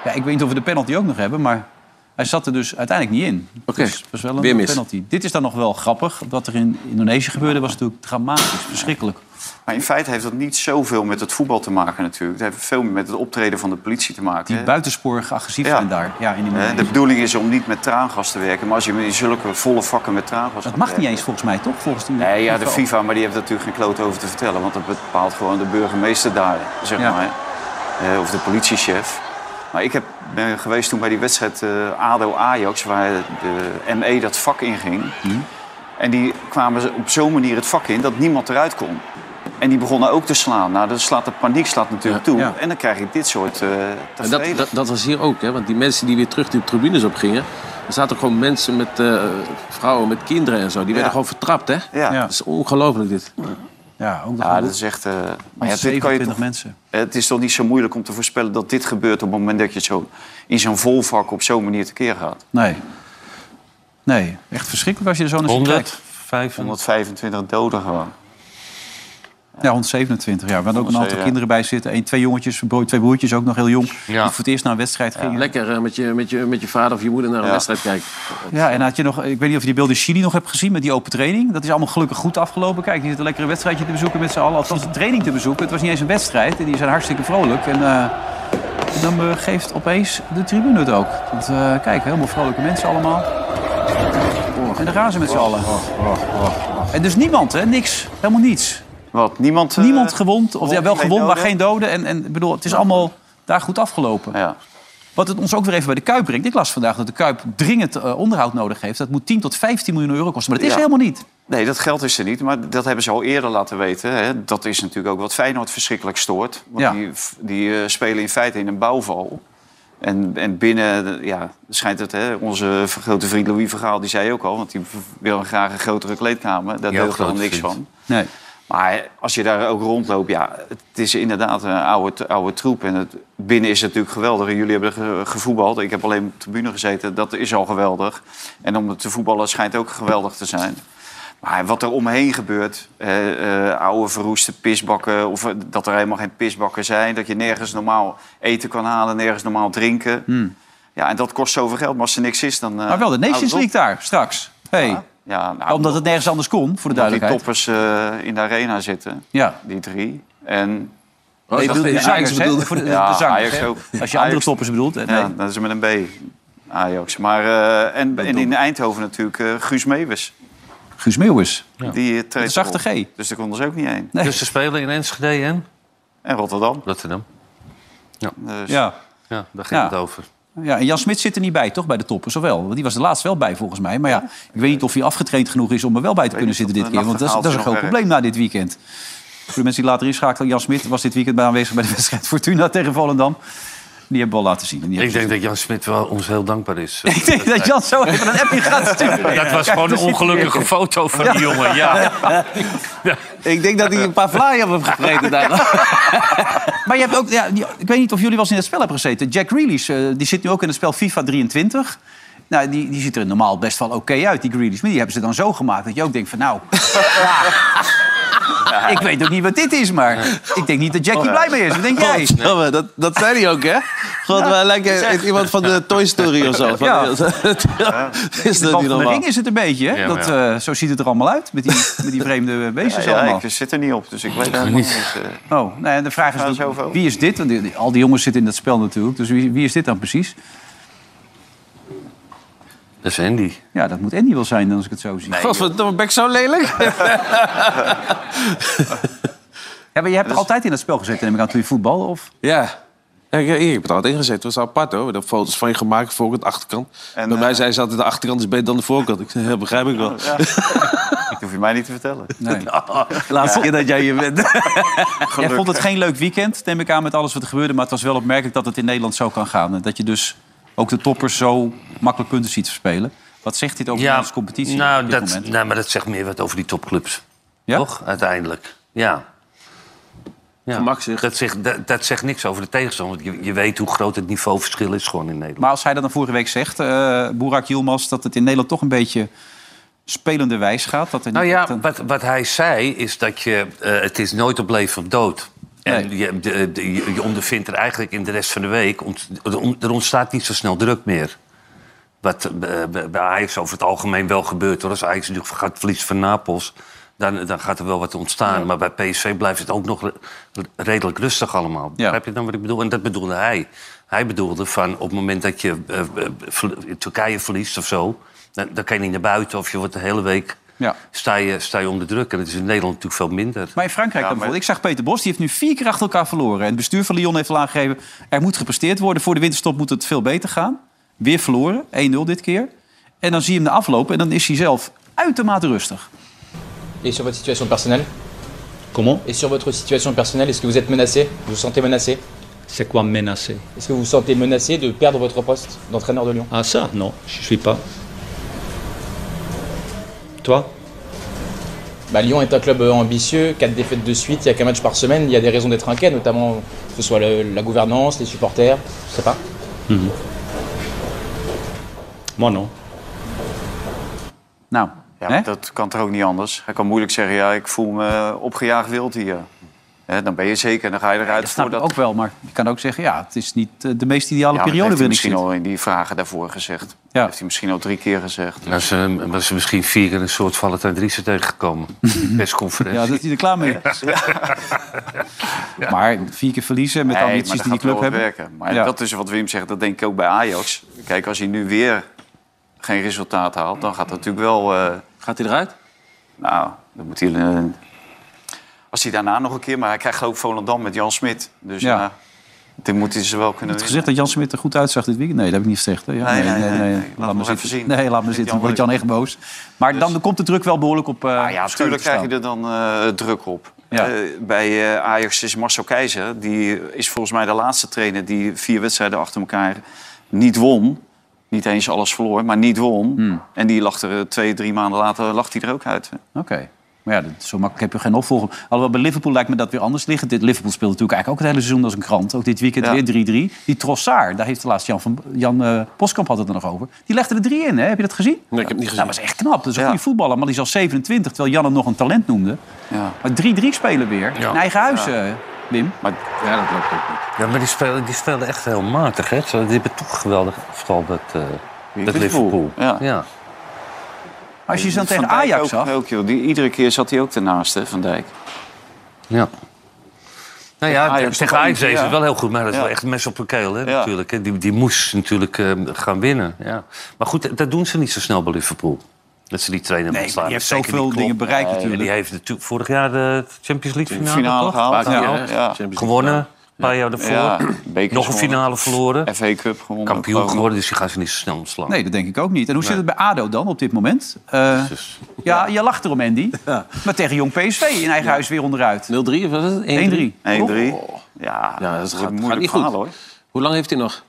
Speaker 2: ja, ik weet niet of we de penalty ook nog hebben, maar hij zat er dus uiteindelijk niet in. Oké, dus dat is wel een
Speaker 6: weer mis.
Speaker 2: penalty. Dit is dan nog wel grappig. Wat er in Indonesië gebeurde was natuurlijk dramatisch, verschrikkelijk.
Speaker 4: Maar in feite heeft dat niet zoveel met het voetbal te maken natuurlijk. Het heeft veel meer met het optreden van de politie te maken.
Speaker 2: Die
Speaker 4: hè.
Speaker 2: buitensporig agressief
Speaker 4: Ja.
Speaker 2: zijn daar. Ja, in
Speaker 4: Hè, De
Speaker 2: Indonesië.
Speaker 4: bedoeling is om niet met traangas te werken. Maar als je in zulke volle vakken met traangas
Speaker 2: Dat
Speaker 4: gaat
Speaker 2: mag niet
Speaker 4: werken-
Speaker 2: eens volgens mij, toch? Volgens die
Speaker 4: Nee, ja, de FIFA, maar die heeft natuurlijk geen kloot over te vertellen. Want dat bepaalt gewoon de burgemeester daar, zeg
Speaker 2: Ja.
Speaker 4: maar. Eh, of de politiechef. Maar ik heb, ben geweest toen bij die wedstrijd eh, ADO-Ajax... waar de ME dat vak inging. En die kwamen ze op zo'n manier het vak in dat niemand eruit kon. En die begonnen ook te slaan. Nou, dan slaat de paniek slaat natuurlijk toe.
Speaker 2: ja.
Speaker 4: En dan krijg ik dit soort eh
Speaker 6: En dat,
Speaker 4: tafereelen.
Speaker 6: dat, dat was hier ook, hè? want die mensen die weer terug de tribunes op gingen... er zaten gewoon mensen met eh, vrouwen, met kinderen en zo. Die werden gewoon vertrapt, hè?
Speaker 4: Ja.
Speaker 6: Dat is ongelooflijk, dit.
Speaker 2: Ja, ook nog
Speaker 4: Ja,
Speaker 2: wel.
Speaker 4: dat is echt... eh, maar ja, dit kan je
Speaker 2: 27
Speaker 4: toch
Speaker 2: mensen.
Speaker 4: Het is toch niet zo moeilijk om te voorspellen dat dit gebeurt op het moment dat je het zo in zo'n volvak op zo'n manier tekeer gaat.
Speaker 2: Nee. Nee, echt verschrikkelijk als je er zo naar ziet
Speaker 3: 100,
Speaker 2: kijkt.
Speaker 3: 500.
Speaker 4: 125 doden gewoon.
Speaker 2: Ja, 127 jaar. We hadden ook een aantal
Speaker 4: Ja.
Speaker 2: kinderen bij zitten. Eén, twee jongetjes, bro- twee broertjes, ook nog heel jong. Die voor het eerst naar een wedstrijd gingen.
Speaker 6: Lekker eh, met, je, met, je, met je vader of je moeder naar een
Speaker 4: Ja.
Speaker 6: wedstrijd kijken.
Speaker 2: Ja, en had je nog, ik weet niet of je die beelden in Chili nog hebt gezien met die open training. Dat is allemaal gelukkig goed afgelopen. Kijk, die zitten een lekkere wedstrijdje te bezoeken met z'n allen. Althans, een training te bezoeken. Het was niet eens een wedstrijd. En die zijn hartstikke vrolijk. En eh, dan eh, geeft opeens de tribune het ook. Want eh, kijk, helemaal vrolijke mensen allemaal. En dan gaan ze met z'n allen. En dus niemand, hè? Niks. Helemaal niets.
Speaker 4: Wat, niemand... eh,
Speaker 2: Niemand gewond. Of ja, wel
Speaker 4: geen
Speaker 2: gewond, maar
Speaker 4: doden?
Speaker 2: geen doden. En, en ik bedoel, het is allemaal daar goed afgelopen.
Speaker 4: Ja.
Speaker 2: Wat het ons ook weer even bij de Kuip brengt. Ik las vandaag dat de Kuip dringend eh, onderhoud nodig heeft. Dat moet 10 tot 15 miljoen euro kosten. Maar dat is
Speaker 4: Ja.
Speaker 2: helemaal niet.
Speaker 4: Nee, dat geld is er niet, maar dat hebben ze al eerder laten weten. Hè. Dat is natuurlijk ook wat Feyenoord verschrikkelijk stoort. Want
Speaker 2: Ja.
Speaker 4: die, die eh, spelen in feite in een bouwval. En, en binnen, ja, schijnt het, hè, onze grote vriend Louis Vergaal, die zei ook al... want die wil graag een grotere kleedkamer, daar
Speaker 3: Jouw
Speaker 4: deugt al
Speaker 3: grote
Speaker 4: niks
Speaker 3: vriend.
Speaker 4: van.
Speaker 2: Nee.
Speaker 4: Maar als je daar ook rondloopt, ja, het is inderdaad een oude, oude troep. En het, binnen is het natuurlijk geweldig. En Jullie hebben ge- gevoetbald. Ik heb alleen op de tribune gezeten. Dat is al geweldig. En om te voetballen schijnt ook geweldig te zijn. Maar wat er omheen gebeurt, eh, eh, oude verroeste pisbakken... of eh, dat er helemaal geen pisbakken zijn... dat je nergens normaal eten kan halen, nergens normaal drinken. Ja, en dat kost zoveel geld. Maar als er niks is, dan... eh,
Speaker 2: Hmm. Maar wel de
Speaker 4: houdt
Speaker 2: Nations
Speaker 4: het op.
Speaker 2: League daar, straks. Hey.
Speaker 4: Ja, nou,
Speaker 2: Omdat het nergens anders kon, voor de
Speaker 4: omdat die
Speaker 2: duidelijkheid.
Speaker 4: toppers eh, in de arena zitten,
Speaker 2: Ja.
Speaker 4: die drie. En...
Speaker 2: Oh, ik dacht de zangers, hè? Voor de- de zangers,
Speaker 4: Ajax
Speaker 2: hè?
Speaker 4: ook.
Speaker 2: Als je andere toppers bedoelt, hè?
Speaker 4: Ja,
Speaker 2: Nee.
Speaker 4: dat is met een B. Ajax. Maar, eh, en, en in Eindhoven natuurlijk eh, Guus Meeuwis.
Speaker 2: Guus Meeuwis.
Speaker 4: Die eh, treedt
Speaker 2: zachte
Speaker 4: erop.
Speaker 2: G.
Speaker 4: Dus daar konden ze ook niet heen.
Speaker 3: Dus ze spelen in Enschede en?
Speaker 4: En Rotterdam.
Speaker 3: Rotterdam. Ja,
Speaker 4: dus,
Speaker 2: Ja.
Speaker 3: ja daar ging
Speaker 2: Ja.
Speaker 3: het over.
Speaker 2: Ja, en Jan Smit zit er niet bij, toch? Bij de toppers, of wel? Want die was er laatst wel bij, volgens mij. Maar ja, ik weet niet of hij afgetraind genoeg is om er wel bij te kunnen zitten dit
Speaker 4: de
Speaker 2: keer. Want dat is, dat is een
Speaker 4: nachtegaal
Speaker 2: groot
Speaker 4: nog
Speaker 2: probleem na dit weekend. Voor de mensen die later inschakelen, Jan Smit was dit weekend bij aanwezig bij de wedstrijd Fortuna tegen Volendam. Die hebben we al laten zien. En die
Speaker 3: Ik
Speaker 2: hebben
Speaker 3: denk dat Jan Smit wel ons heel dankbaar
Speaker 2: [LAUGHS]
Speaker 3: is.
Speaker 2: Ik denk dat Jan zo even een appje gaat sturen.
Speaker 3: Dat was gewoon een ongelukkige foto van die jongen, ja.
Speaker 16: Ik denk dat hij een paar vlaaien heeft gegeten daar.
Speaker 2: [LAUGHS] Maar je hebt ook, ja, die- ik weet niet of jullie wel eens in het spel hebben gezeten. Jack Grealish, eh, die zit nu ook in het spel FIFA 23. Nou, die, die ziet er normaal best wel oké uit, die Grealish. Maar die hebben ze dan zo gemaakt dat je ook denkt van [LAUGHS] nou... ja, ik weet ook niet wat dit is, maar ik denk niet dat Jack hier blij mee is. Wat denk jij?
Speaker 16: Godsamme, dat, dat zei hij ook, hè? God, wij lijken iemand van de Toy Story of zo. Van, [LAUGHS]
Speaker 2: Ja.
Speaker 16: ja. Is
Speaker 2: De
Speaker 16: dat
Speaker 2: bal
Speaker 16: niet
Speaker 2: van de
Speaker 16: normaal?
Speaker 2: ring is het een beetje, hè?
Speaker 16: Ja,
Speaker 2: dat, eh, zo ziet het er allemaal uit, met die, met die [LAUGHS] vreemde wezens
Speaker 4: Ja, ja,
Speaker 2: allemaal.
Speaker 4: ik zit er niet op, dus ik weet het niet. eh,
Speaker 2: Oh, nou ja, de vraag is,
Speaker 4: Nou,
Speaker 2: dan,
Speaker 4: zoveel.
Speaker 2: wie is dit? Want die- die- al die jongens zitten in dat spel natuurlijk. Dus wie, wie is dit dan precies?
Speaker 3: Dat is Andy.
Speaker 2: Ja, dat moet Andy wel zijn, als ik het zo zie.
Speaker 16: Godverdomme, ben ik zo lelijk?
Speaker 2: Ja, maar je
Speaker 16: Dus-
Speaker 2: hebt altijd in dat spel gezeten, neem ik aan, toen je voetbal? Of?
Speaker 6: Ja. Ja, ik, ik heb het altijd ingezet. Het was apart hoor. We hebben foto's van je gemaakt, voorkant, achterkant.
Speaker 4: En,
Speaker 6: Bij
Speaker 4: eh,
Speaker 6: mij zei ze altijd, de achterkant is beter dan de voorkant. Ik zei, ja, begrijp ik wel.
Speaker 4: ja. dat hoef je mij niet te vertellen.
Speaker 2: Nee.
Speaker 16: Laatste keer dat jij hier
Speaker 2: [LAUGHS]
Speaker 16: bent.
Speaker 2: Jij vond het geen leuk weekend, neem ik aan, met alles wat er gebeurde. Maar het was wel opmerkelijk dat het in Nederland zo kan gaan. En dat je dus ook de toppers zo makkelijk punten ziet verspelen. Wat zegt dit over de Nederlandse competitie
Speaker 3: nou,
Speaker 2: op dit
Speaker 3: dat,
Speaker 2: moment?
Speaker 3: nou, maar dat zegt meer wat over die topclubs.
Speaker 2: Ja?
Speaker 3: Toch? Uiteindelijk. Ja. ja. Dat, zegt, dat, dat zegt niks over de tegenstander. Want je, je weet hoe groot het niveauverschil is gewoon in Nederland.
Speaker 2: Maar als hij dat dan vorige week zegt, eh Boerak Yilmaz... dat het in Nederland toch een beetje spelende wijs gaat. Dat er
Speaker 3: Nou
Speaker 2: niet
Speaker 3: ja,
Speaker 2: echt een-
Speaker 3: wat, wat hij zei is dat je... eh, het is nooit op leven of dood. En je, de- de- je- je ondervindt er eigenlijk in de rest van de week... ont- er on- er ontstaat niet zo snel druk meer. Wat eh, bij- bij bij Ajax over het algemeen wel gebeurt. Hoor. Als Ajax natuurlijk gaat verliezen van Napels... Dan, dan gaat er wel wat ontstaan. Maar bij PSV blijft het ook nog re- redelijk rustig allemaal. Begrijp je dan wat ik bedoel? En dat bedoelde hij. Hij bedoelde van op het moment dat je eh, eh, ver- Turkije verliest of zo... Dan, dan kan je niet naar buiten of je wordt de hele week
Speaker 2: Ja.
Speaker 3: sta je, sta je onder druk. En dat is in Nederland natuurlijk veel minder.
Speaker 2: Maar in Frankrijk dan bijvoorbeeld. Ik zag Peter Bos, die heeft nu vier keer achter elkaar verloren. En het bestuur van Lyon heeft al aangegeven... er moet gepresteerd worden, voor de winterstop moet het veel beter gaan. Weer verloren, 1-0 dit keer. En dan zie je hem de aflopen en dan is hij zelf uitermate rustig.
Speaker 17: Et sur er votre situation personnelle Comment Et sur votre situation personnelle, est-ce que vous êtes menacé Vous vous sentez menacé
Speaker 18: C'est quoi menacé
Speaker 17: Est-ce que vous vous sentez menacé de perdre votre poste d'entraîneur de Lyon
Speaker 18: Ah ça, non, je suis pas. Toi
Speaker 17: Bah, Lyon est un club euh, ambitieux, quatre défaites de suite, il n'y a qu'un match par semaine, il y a des raisons d'être inquiet, notamment que ce soit le- la gouvernance, les supporters, je sais pas.
Speaker 18: Mhm. Moi non.
Speaker 2: Nou,
Speaker 4: ja, maar dat kan toch ook niet anders? Hij kan moeilijk zeggen, ja, ik voel me eh, opgejaagd wild hier. Hè, dan ben je zeker, dan ga je eruit
Speaker 2: Dat snap
Speaker 4: voor
Speaker 2: ik
Speaker 4: dat...
Speaker 2: ook wel, maar je kan ook zeggen... ja, het is niet eh, de meest ideale
Speaker 4: Ja, maar dat
Speaker 2: periode
Speaker 4: heeft
Speaker 2: waarin ik
Speaker 4: hij misschien
Speaker 2: zit.
Speaker 4: al in die vragen daarvoor gezegd. Dat heeft hij misschien al drie keer gezegd.
Speaker 3: Nou, ze, was ze misschien vier keer een soort Valentijn Driessen
Speaker 2: [LAUGHS]
Speaker 3: tegengekomen. Persconferentie.
Speaker 2: Ja, dat hij er klaar mee
Speaker 4: [LAUGHS]
Speaker 2: is. [LAUGHS] Maar vier keer verliezen met de
Speaker 4: Nee,
Speaker 2: ambities
Speaker 4: maar
Speaker 2: die die
Speaker 4: dat gaat
Speaker 2: club
Speaker 4: wel
Speaker 2: hebben.
Speaker 4: wat werken. Maar
Speaker 2: Ja.
Speaker 4: dat is wat Wim zegt, dat denk ik ook bij Ajax. Kijk, als hij nu weer geen resultaat haalt, dan gaat dat natuurlijk wel... eh,
Speaker 6: Gaat hij eruit?
Speaker 4: Nou, dan moet hij... eh, als hij daarna nog een keer... Maar hij krijgt ook Volendam met Jan Smit. Dus
Speaker 2: Ja.
Speaker 4: ja, dan moet hij ze wel
Speaker 2: Heb
Speaker 4: kunnen
Speaker 2: je gezegd dat Jan Smit er goed uitzag dit weekend? Nee, dat heb ik niet gezegd. hè? Ja,
Speaker 4: Nee, nee, nee. Laat
Speaker 2: Laat
Speaker 4: me
Speaker 2: me
Speaker 4: nog
Speaker 2: zitten.
Speaker 4: even zien.
Speaker 2: Nee, laat me zitten. Dan wordt Jan echt boos. Maar dan komt de druk wel behoorlijk op. eh
Speaker 4: Dus- Ah, Ja, natuurlijk krijg je er dan eh, druk op.
Speaker 2: Ja.
Speaker 4: Eh, bij eh, Ajax is Marcel Keizer. Die is volgens mij de laatste trainer die vier wedstrijden achter elkaar niet won. Niet eens
Speaker 2: Hmm.
Speaker 4: alles verloor, maar niet won. En die lag er eh, twee, drie maanden later lag hij er ook uit. hè.
Speaker 2: Oké. Maar ja, dat- zo makkelijk heb je geen opvolger. Alhoewel bij Liverpool lijkt me dat weer anders liggen. Dit Liverpool speelt natuurlijk eigenlijk ook het hele seizoen als een krant. Ook dit weekend weer 3-3. Die Trossard, daar heeft de laatste Jan, van, Jan eh, Boskamp had het er nog over. Die legde er drie in, hè? heb je dat gezien?
Speaker 6: Nee, ik heb niet gezien.
Speaker 2: Nou, dat was echt knap. Dat is een goede voetballer, maar die is al 27, terwijl Jan hem nog een talent noemde. Maar 3-3 spelen weer. In eigen huis, eh, Wim.
Speaker 3: ja, dat loopt ook niet. Ja, maar die spelen, die spelen echt heel matig, hè? Ze die hebben toch geweldig, vooral dat, eh, dat Liverpool.
Speaker 4: Ja.
Speaker 2: Als je ze dan
Speaker 4: Van
Speaker 2: tegen
Speaker 4: Dijk
Speaker 2: Ajax
Speaker 4: ook,
Speaker 2: zag-
Speaker 4: Ook, joh. Die, iedere keer zat hij ook ernaast, hè, Van Dijk.
Speaker 3: Ja. Nou ja, tegen
Speaker 4: toch
Speaker 3: Ajax
Speaker 4: ook,
Speaker 3: heeft
Speaker 4: ja.
Speaker 3: het wel heel goed, maar dat is
Speaker 4: Ja.
Speaker 3: wel echt een mes op de keel, hè, natuurlijk. Hè. Die, die moest natuurlijk eh, gaan winnen. Ja. Maar goed, dat doen ze niet zo snel bij Liverpool. Dat ze die trainer
Speaker 2: Nee,
Speaker 3: ontslaan.
Speaker 2: die heeft
Speaker 3: Zeker
Speaker 2: zoveel
Speaker 3: niet Klopp.
Speaker 2: dingen bereikt
Speaker 3: Nee,
Speaker 2: natuurlijk.
Speaker 3: Die heeft natuurlijk vorig jaar de Champions League
Speaker 4: De
Speaker 3: finale,
Speaker 4: finale
Speaker 3: toch?
Speaker 4: gehaald,
Speaker 3: Paar jaar
Speaker 4: ja.
Speaker 3: gehaald.
Speaker 4: Ja. Champions League
Speaker 3: Gewonnen,
Speaker 4: gehaald.
Speaker 3: een paar jaar daarvoor.
Speaker 4: Ja, bekers
Speaker 3: Nog een
Speaker 4: gewonnen.
Speaker 3: finale verloren.
Speaker 4: FA Cup gewonnen.
Speaker 3: Kampioen
Speaker 4: ook.
Speaker 3: geworden, dus die gaan ze niet zo snel ontslaan.
Speaker 2: Nee, dat denk ik ook niet. En hoe
Speaker 3: Nee.
Speaker 2: zit het bij ADO dan op dit moment? Eh, ja, je lacht erom, Andy. Maar tegen Jong PSV in eigen huis weer onderuit.
Speaker 6: 0-3 of was het?
Speaker 2: 1-3.
Speaker 4: 1-3.
Speaker 3: Oh.
Speaker 6: Ja, dat gaat,
Speaker 4: moeilijk
Speaker 6: gaat niet goed.
Speaker 4: verhaal, hoor.
Speaker 6: Hoe lang heeft hij nog?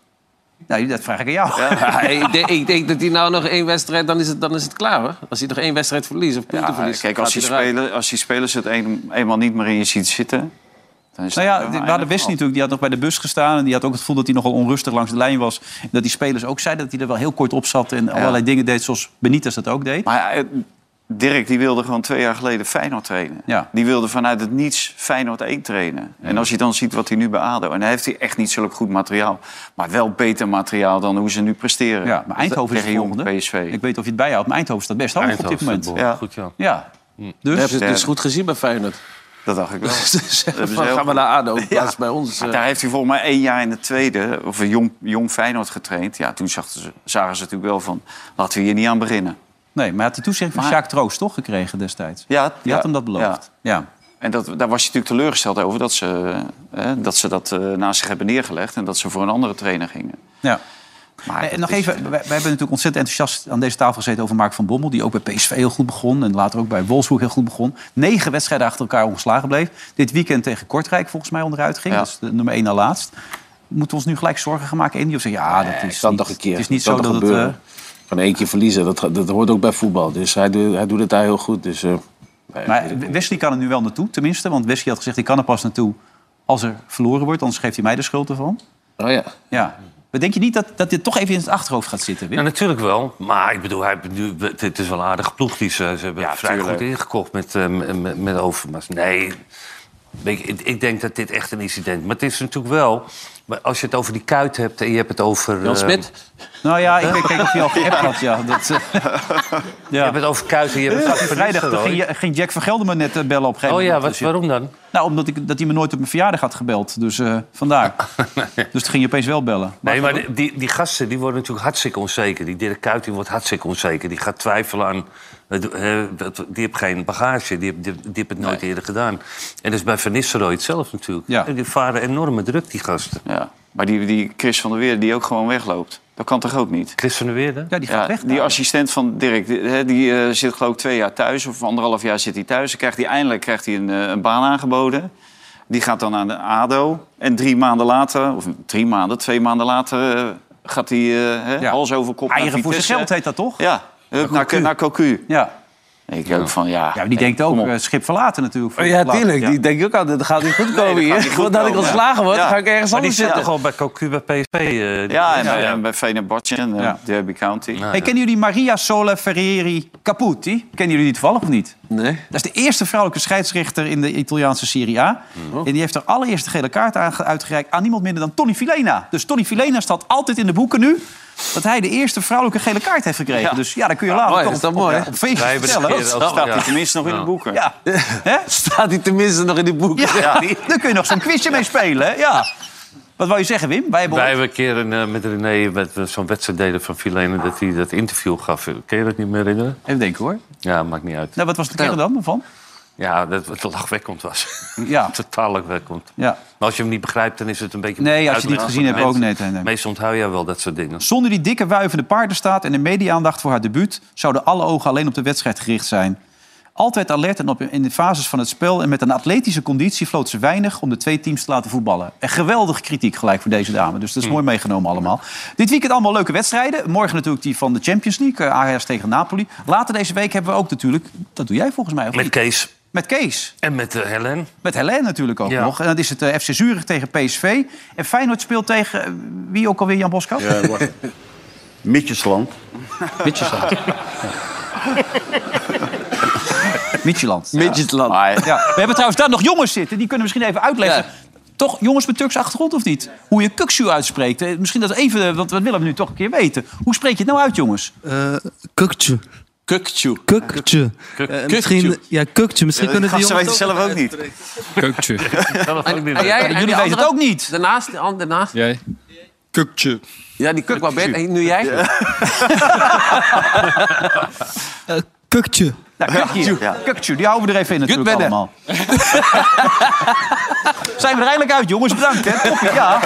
Speaker 2: Nou, dat vraag ik aan jou.
Speaker 6: Ja, ik, denk, ik denk dat hij nou nog één wedstrijd, dan is het, dan is het klaar hoor. Als hij nog één wedstrijd verliest of punten
Speaker 4: Ja,
Speaker 6: verliest.
Speaker 4: kijk, als die,
Speaker 6: gaat hij eruit.
Speaker 4: speler, als die spelers het een- eenmaal niet meer in je ziet zitten... Dan is
Speaker 2: Nou
Speaker 4: het
Speaker 2: ja,
Speaker 4: wel
Speaker 2: we
Speaker 4: eindig
Speaker 2: hadden Wesley
Speaker 4: verhaal.
Speaker 2: natuurlijk, die had nog bij de bus gestaan. En die had ook het gevoel dat hij nogal onrustig langs de lijn was. En dat die spelers ook zeiden dat hij er wel heel kort op zat. En allerlei dingen deed, zoals Benitez dat ook deed.
Speaker 4: Maar eh, Dirk die wilde gewoon twee jaar geleden Feyenoord trainen.
Speaker 2: Ja.
Speaker 4: Die wilde vanuit het niets Feyenoord 1 trainen. En als je dan ziet wat hij nu bij ADO... en dan heeft hij echt niet zulk goed materiaal... maar wel beter materiaal dan hoe ze nu presteren.
Speaker 2: Ja, maar Eindhoven is
Speaker 4: Tegen
Speaker 2: de
Speaker 4: Jong
Speaker 2: volgende.
Speaker 4: PSV.
Speaker 2: Ik weet niet of je het bijhoudt, maar Eindhoven staat best hoog op dit
Speaker 4: Eindhoven
Speaker 2: moment.
Speaker 4: staat behoorlijk goed, ja.
Speaker 2: ja.
Speaker 6: Dan
Speaker 2: Dus,
Speaker 6: hebben ze het dus goed gezien bij Feyenoord.
Speaker 4: Dat
Speaker 2: [LAUGHS]
Speaker 4: dacht ik wel.
Speaker 6: Dus
Speaker 4: Dat hebben ze
Speaker 6: van,
Speaker 4: heel
Speaker 6: gaan we
Speaker 4: goed.
Speaker 6: naar ADO in plaats
Speaker 4: Ja.
Speaker 6: bij ons.
Speaker 4: Maar
Speaker 6: eh.
Speaker 4: Daar heeft hij volgens mij één jaar in de tweede, of een jong, jong Feyenoord getraind. Ja, toen zag ze- zagen ze natuurlijk wel van, laten we hier niet aan beginnen.
Speaker 2: Nee, maar hij had die toezegging van
Speaker 4: Maar-
Speaker 2: Sjaak Troost toch gekregen destijds?
Speaker 4: Ja,
Speaker 2: Die had hem dat beloofd. Ja.
Speaker 4: En dat, daar was je natuurlijk teleurgesteld over dat ze, eh, dat, ze dat eh, naast zich hebben neergelegd... en dat ze voor een andere trainer gingen.
Speaker 2: Ja.
Speaker 4: Maar
Speaker 2: Eh,
Speaker 4: dat
Speaker 2: nog
Speaker 4: is-
Speaker 2: even, wij, wij hebben natuurlijk ontzettend enthousiast aan deze tafel gezeten over Mark van Bommel. Die ook bij PSV heel goed begon. En later ook bij Wolfsburg heel goed begon. Negen wedstrijden achter elkaar ongeslagen bleef. Dit weekend tegen Kortrijk volgens mij onderuit ging.
Speaker 4: Ja.
Speaker 2: Dat is de nummer één na laatst. Moeten we ons nu gelijk zorgen gaan maken? Andy of zeg je, ja, dat is
Speaker 6: kan
Speaker 2: niet,
Speaker 6: toch een keer.
Speaker 2: Het is niet
Speaker 6: Kan
Speaker 2: zo
Speaker 6: toch
Speaker 2: dat het...
Speaker 6: gebeuren?
Speaker 2: eh,
Speaker 6: Van één keer verliezen, dat, gaat- dat hoort ook bij voetbal. Dus hij, doet- hij doet het daar heel goed. Dus, eh,
Speaker 2: Maar Wesley kan er nu wel naartoe, tenminste. Want Wesley had gezegd, ik kan er pas naartoe als er verloren wordt. Anders geeft hij mij de schuld ervan.
Speaker 6: oh ja.
Speaker 2: Ja. Maar denk je niet dat, dat dit toch even in het achterhoofd gaat zitten, Wim?
Speaker 3: Ja, natuurlijk wel. Maar ik bedoel, hij, heeft nu- het is wel een aardige ploeg die ze, ze hebben. vrij
Speaker 4: tuurlijk.
Speaker 3: goed ingekocht met, eh, m- met, met Overmars. Nee, ik, ik- ik denk dat dit echt een incident is. Maar het is natuurlijk wel... Maar als je het over die kuit hebt en je hebt het over...
Speaker 6: Jan
Speaker 3: eh,
Speaker 6: Smit?
Speaker 2: Nou ja, ik kijk of hij al geappt had. Ja, dat, eh,
Speaker 3: Je hebt het over kuit en je hebt het over
Speaker 2: Vrijdag
Speaker 3: verliezen,
Speaker 2: toen ging,
Speaker 3: Roy.
Speaker 2: ging Jack van Gelder me net eh, bellen op een gegeven
Speaker 3: Oh ja,
Speaker 2: moment.
Speaker 3: wat-
Speaker 2: Dus je-
Speaker 3: waarom dan?
Speaker 2: Nou, omdat ik, dat hij me nooit op mijn verjaardag had gebeld. Dus eh, vandaar. Dus toen ging je opeens wel bellen.
Speaker 3: Nee, maar die- die, die gasten die worden natuurlijk hartstikke onzeker. Die Dirk Kuyt die wordt hartstikke onzeker. Die gaat twijfelen aan... het, eh, dat- Die heeft geen bagage. Die, heeft- die, die heeft het nooit eerder gedaan. En dat is bij Van Nistelrooy zelf natuurlijk.
Speaker 2: Ja.
Speaker 3: En Die varen enorme druk, die gasten.
Speaker 4: Ja. Maar die, die Chris van der Weer, die ook gewoon wegloopt. Dat kan toch ook niet?
Speaker 3: Chris van der Weerde?
Speaker 2: Ja, die gaat
Speaker 4: Ja,
Speaker 2: weg.
Speaker 4: die assistent van Dirk, die, hè, die eh, zit geloof ik twee jaar thuis. Of anderhalf jaar zit hij thuis. Dan krijgt hij eindelijk krijgt hij een, eh, een baan aangeboden. Die gaat dan aan de ADO. En drie maanden later, of drie maanden, twee maanden later... eh, gaat hij eh, hè,
Speaker 2: Ja.
Speaker 4: hals over kop
Speaker 2: Eieren voor zijn
Speaker 4: Vitesse.
Speaker 2: geld heet dat toch?
Speaker 4: Ja, hup, naar,
Speaker 2: Cocu.
Speaker 4: naar Cocu.
Speaker 2: Ja.
Speaker 4: Ik ook van, ja...
Speaker 2: ja, maar die denkt ook, eh, schip verlaten natuurlijk. voor
Speaker 6: Oh ja,
Speaker 2: het land.
Speaker 6: tuurlijk.
Speaker 2: Ja.
Speaker 6: Die denk ik ook altijd, dat gaat niet goed komen
Speaker 4: dat gaat
Speaker 6: hier.
Speaker 4: [LAUGHS] niet goed
Speaker 6: Voordat ik
Speaker 4: komen, ja.
Speaker 6: ontslagen word,
Speaker 4: Ja.
Speaker 6: ga ik ergens
Speaker 3: Maar die
Speaker 6: anders
Speaker 3: zit
Speaker 6: zitten.
Speaker 3: toch al bij Cocu, bij PSV? eh, die-
Speaker 4: Ja, en, bij- en bij Fenerbahce en eh,
Speaker 2: Ja.
Speaker 4: Derby County.
Speaker 2: Hey, kennen jullie Maria Sole Ferreri Caputi? Kennen jullie die toevallig of niet?
Speaker 6: Nee.
Speaker 2: Dat is de eerste vrouwelijke scheidsrechter in de Italiaanse Serie A.
Speaker 6: Mhm.
Speaker 2: En die heeft haar allereerste gele kaart aange- uitgereikt aan niemand minder dan Tony Filena. Dus Tony Filena staat altijd in de boeken nu dat hij de eerste vrouwelijke gele kaart heeft gekregen.
Speaker 4: Ja.
Speaker 2: Dus ja, dan kun je later
Speaker 6: mooi,
Speaker 2: toch
Speaker 6: is dat
Speaker 2: op,
Speaker 6: mooi,
Speaker 2: op,
Speaker 6: hè?
Speaker 2: op feestjes
Speaker 3: Wij hebben de
Speaker 2: vertellen.
Speaker 3: keer-
Speaker 4: Dan staat hij
Speaker 3: Ja.
Speaker 4: tenminste nog in de
Speaker 3: Ja.
Speaker 4: boeken.
Speaker 2: Ja. Hè?
Speaker 6: Staat hij tenminste nog in die boeken?
Speaker 2: Ja, [LAUGHS] dan kun je nog zo'n quizje mee spelen. hè? Ja. Wat wou je zeggen, Wim? Wij hebben
Speaker 3: Wij hebben een keer een, eh, met René met eh, zo'n wedstrijd deden van Filene... dat hij dat interview gaf. Kun je dat niet meer herinneren?
Speaker 2: Even denken hoor.
Speaker 3: Ja, maakt niet uit.
Speaker 2: Nou, wat was de keer dan van?
Speaker 3: Ja, dat het lachwekkend was. [LAUGHS]
Speaker 2: Ja.
Speaker 3: Totaal lachwekkend.
Speaker 2: Ja.
Speaker 3: Maar als je hem niet begrijpt, dan is het een beetje...
Speaker 2: Nee, als je het niet gezien hebt, ook
Speaker 3: Mensen-
Speaker 2: niet, nee, nee.
Speaker 3: Meestal onthoud je wel dat soort dingen.
Speaker 2: Zonder die dikke wuivende paardenstaat en de media-aandacht voor haar debuut... zouden alle ogen alleen op de wedstrijd gericht zijn. Altijd alert en op, in de fases van het spel. En met een atletische conditie floot ze weinig om de twee teams te laten voetballen. En geweldig kritiek gelijk voor deze dame. Dus dat is mooi meegenomen allemaal. Dit weekend allemaal leuke wedstrijden. Morgen natuurlijk die van de Champions League. eh, Ajax tegen Napoli. Later deze week hebben we ook natuurlijk... Dat doe jij volgens mij. Of
Speaker 3: Met
Speaker 2: niet?
Speaker 3: Kees.
Speaker 2: Met Kees.
Speaker 3: En met eh, Helen.
Speaker 2: Met Hélène natuurlijk ook
Speaker 3: Ja.
Speaker 2: nog. En dan is het eh, FC Zurich tegen PSV. En Feyenoord speelt tegen... eh, Wie ook alweer, Jan Boskamp?
Speaker 19: Ja, wacht. Mitjesland.
Speaker 2: [LAUGHS] Midtjesland. Midtjesland.
Speaker 16: Midtjesland.
Speaker 2: Ja. We hebben trouwens daar nog jongens zitten. Die kunnen misschien even uitleggen. Toch jongens met Turks achtergrond of niet? Hoe je Kuksu uitspreekt. Eh, Misschien dat even, eh, want dat willen we nu toch een keer weten. Hoe spreek je het nou uit, jongens?
Speaker 20: Kuktje.
Speaker 2: Kukchu.
Speaker 20: Kuktje.
Speaker 2: Kuk-
Speaker 20: Eh, misschien- Ja, kuktje. Misschien
Speaker 2: Ja,
Speaker 20: kunnen
Speaker 2: die
Speaker 20: die
Speaker 2: gasten
Speaker 20: jongens...
Speaker 2: weten zelf ook
Speaker 20: niet.
Speaker 21: Kuktje.
Speaker 2: En jij- en jullie weten het ook
Speaker 16: niet. Daarnaast, de an- daarnaast.
Speaker 21: Jij? Kuktje.
Speaker 16: Ja, die kuk wel bed. En nu jij?
Speaker 20: Kuktje.
Speaker 2: Nou, Kukju. Kukju, die houden we er even in natuurlijk
Speaker 16: Kutbedden.
Speaker 2: allemaal. Zijn we er eindelijk uit, jongens. Bedankt, hè. Toppie, ja.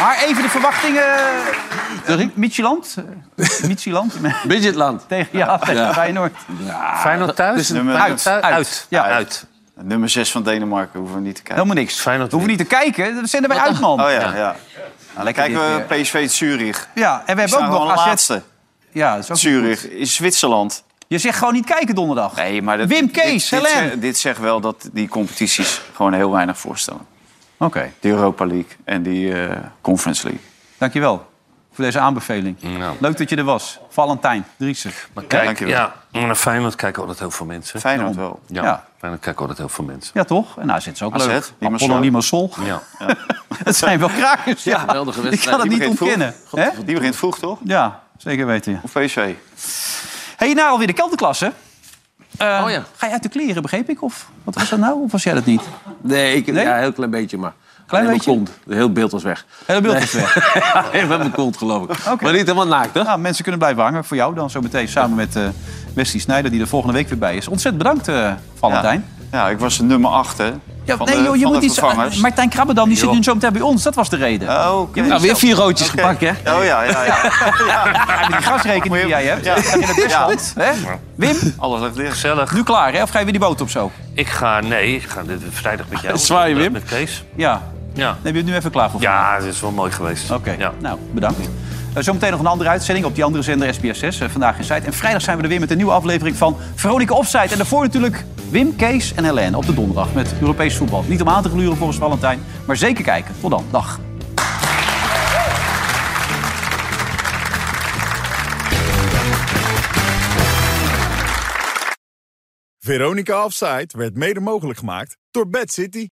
Speaker 2: Maar even de verwachtingen. Sorry? Micheland? Eh, Micheland?
Speaker 16: Midgetland.
Speaker 2: Tegen, ja, tegen
Speaker 4: Ja.
Speaker 2: Feyenoord.
Speaker 4: Feyenoord
Speaker 6: Ah,
Speaker 4: thuis?
Speaker 2: Dus
Speaker 4: Nummer-
Speaker 2: uit.
Speaker 4: Uit.
Speaker 2: Uit. Ja.
Speaker 4: Uit. Nummer 6 van Denemarken, hoeven we niet te kijken.
Speaker 2: Helemaal niks. Hoeven we niet te kijken. Dat zenden wij uit, Nou, man.
Speaker 4: Oh ja, ja. Nou, dan
Speaker 2: Lekker
Speaker 4: kijken we
Speaker 2: dit
Speaker 4: PSV Zurich.
Speaker 2: Ja, en we hebben ook nog AZ.
Speaker 4: laatste.
Speaker 2: Ja, dat is ook
Speaker 4: Zurich in Zwitserland.
Speaker 2: Je zegt gewoon niet kijken donderdag.
Speaker 4: Nee, maar dat,
Speaker 2: Wim
Speaker 4: dit-
Speaker 2: Kees,
Speaker 4: dit,
Speaker 2: Helen.
Speaker 4: zegt- dit zegt wel dat die competities gewoon heel weinig voorstellen.
Speaker 2: Oké.
Speaker 4: De Europa League en die eh, Conference League.
Speaker 2: Dankjewel voor deze aanbeveling.
Speaker 4: Nou.
Speaker 2: Leuk dat je er was. Valentijn, Driessen.
Speaker 3: Maar kijk,
Speaker 2: Dankjewel.
Speaker 3: ja, maar naar Feyenoord kijken altijd heel veel mensen.
Speaker 4: Feyenoord wel.
Speaker 3: Ja,
Speaker 2: Ja.
Speaker 3: Feyenoord kijken altijd heel veel mensen.
Speaker 2: Ja, toch? En AZ is ook
Speaker 3: AZ,
Speaker 2: leuk.
Speaker 3: Limassol.
Speaker 2: Apollo Limassol.
Speaker 3: Ja.
Speaker 2: [LAUGHS] Het zijn wel krakers. Ja,
Speaker 4: Geweldige wedstrijd.
Speaker 2: Ik kan het
Speaker 4: Die
Speaker 2: niet
Speaker 4: begint
Speaker 2: ontkennen.
Speaker 4: vroeg.
Speaker 2: hè?
Speaker 4: Die begint vroeg, toch?
Speaker 2: Ja, zeker weten.
Speaker 4: Of PSV?
Speaker 2: hey, nou alweer de kelderklasse. Eh,
Speaker 4: Oh ja.
Speaker 2: Ga je uit de kleren, begreep ik? Of wat was dat nou? Of was jij dat niet?
Speaker 6: Nee, ik,
Speaker 2: Nee?
Speaker 6: Ja, heel klein beetje, maar...
Speaker 2: Klein
Speaker 6: Alleen
Speaker 2: beetje?
Speaker 6: Mijn kont. De heel beeld was weg. [LAUGHS]
Speaker 2: Hele beeld was
Speaker 6: weg? Alleen met mijn kont, geloof ik.
Speaker 2: Maar niet helemaal naakt, hè? Nou, mensen kunnen blijven hangen. Voor jou dan zo meteen. Samen met eh Wesley Snijder, die er volgende week weer bij is. Ontzettend bedankt, eh, Valentijn.
Speaker 4: Ja, ik was nummer 8, hè?
Speaker 2: Ja,
Speaker 4: van
Speaker 2: nee,
Speaker 4: de-
Speaker 2: joh, je
Speaker 4: van de
Speaker 2: moet iets. ah,
Speaker 4: vervangers.
Speaker 2: Martijn Krabbedam, die zit
Speaker 4: Joh.
Speaker 2: nu zo meteen bij ons. Dat was de reden.
Speaker 4: Oh,
Speaker 2: Je moet
Speaker 4: Nou, weer
Speaker 2: zelf-
Speaker 4: vier roodjes
Speaker 2: Oké.
Speaker 4: gepakt, hè? Oh, ja, ja, ja.
Speaker 2: Ja, met die gasrekening die jij hebt.
Speaker 4: Ja.
Speaker 2: In het Westland.
Speaker 3: Ja.
Speaker 2: hè? Wim?
Speaker 4: Alles ligt dicht.
Speaker 3: Gezellig.
Speaker 2: Nu klaar, hè? Of ga je weer die boot op zo?
Speaker 3: Ik ga, nee, ik ga dit vrijdag met jou.
Speaker 2: Zwaaien, Wim.
Speaker 3: Met Kees.
Speaker 2: Ja.
Speaker 3: Ja.
Speaker 2: Neem je het nu even klaar voor?
Speaker 3: Ja, dat is wel mooi geweest.
Speaker 2: Oké, nou, bedankt. Eh, Zometeen nog een andere uitzending op die andere zender SBS6, eh, Vandaag in Zuid. En vrijdag zijn we er weer met een nieuwe aflevering van Veronica Offside. En daarvoor natuurlijk Wim, Kees en Hélène op de donderdag met Europees voetbal. Niet om aan te gluren volgens Valentijn, maar zeker kijken. Tot dan, dag.
Speaker 1: Veronica Offside werd mede mogelijk gemaakt door Bad City.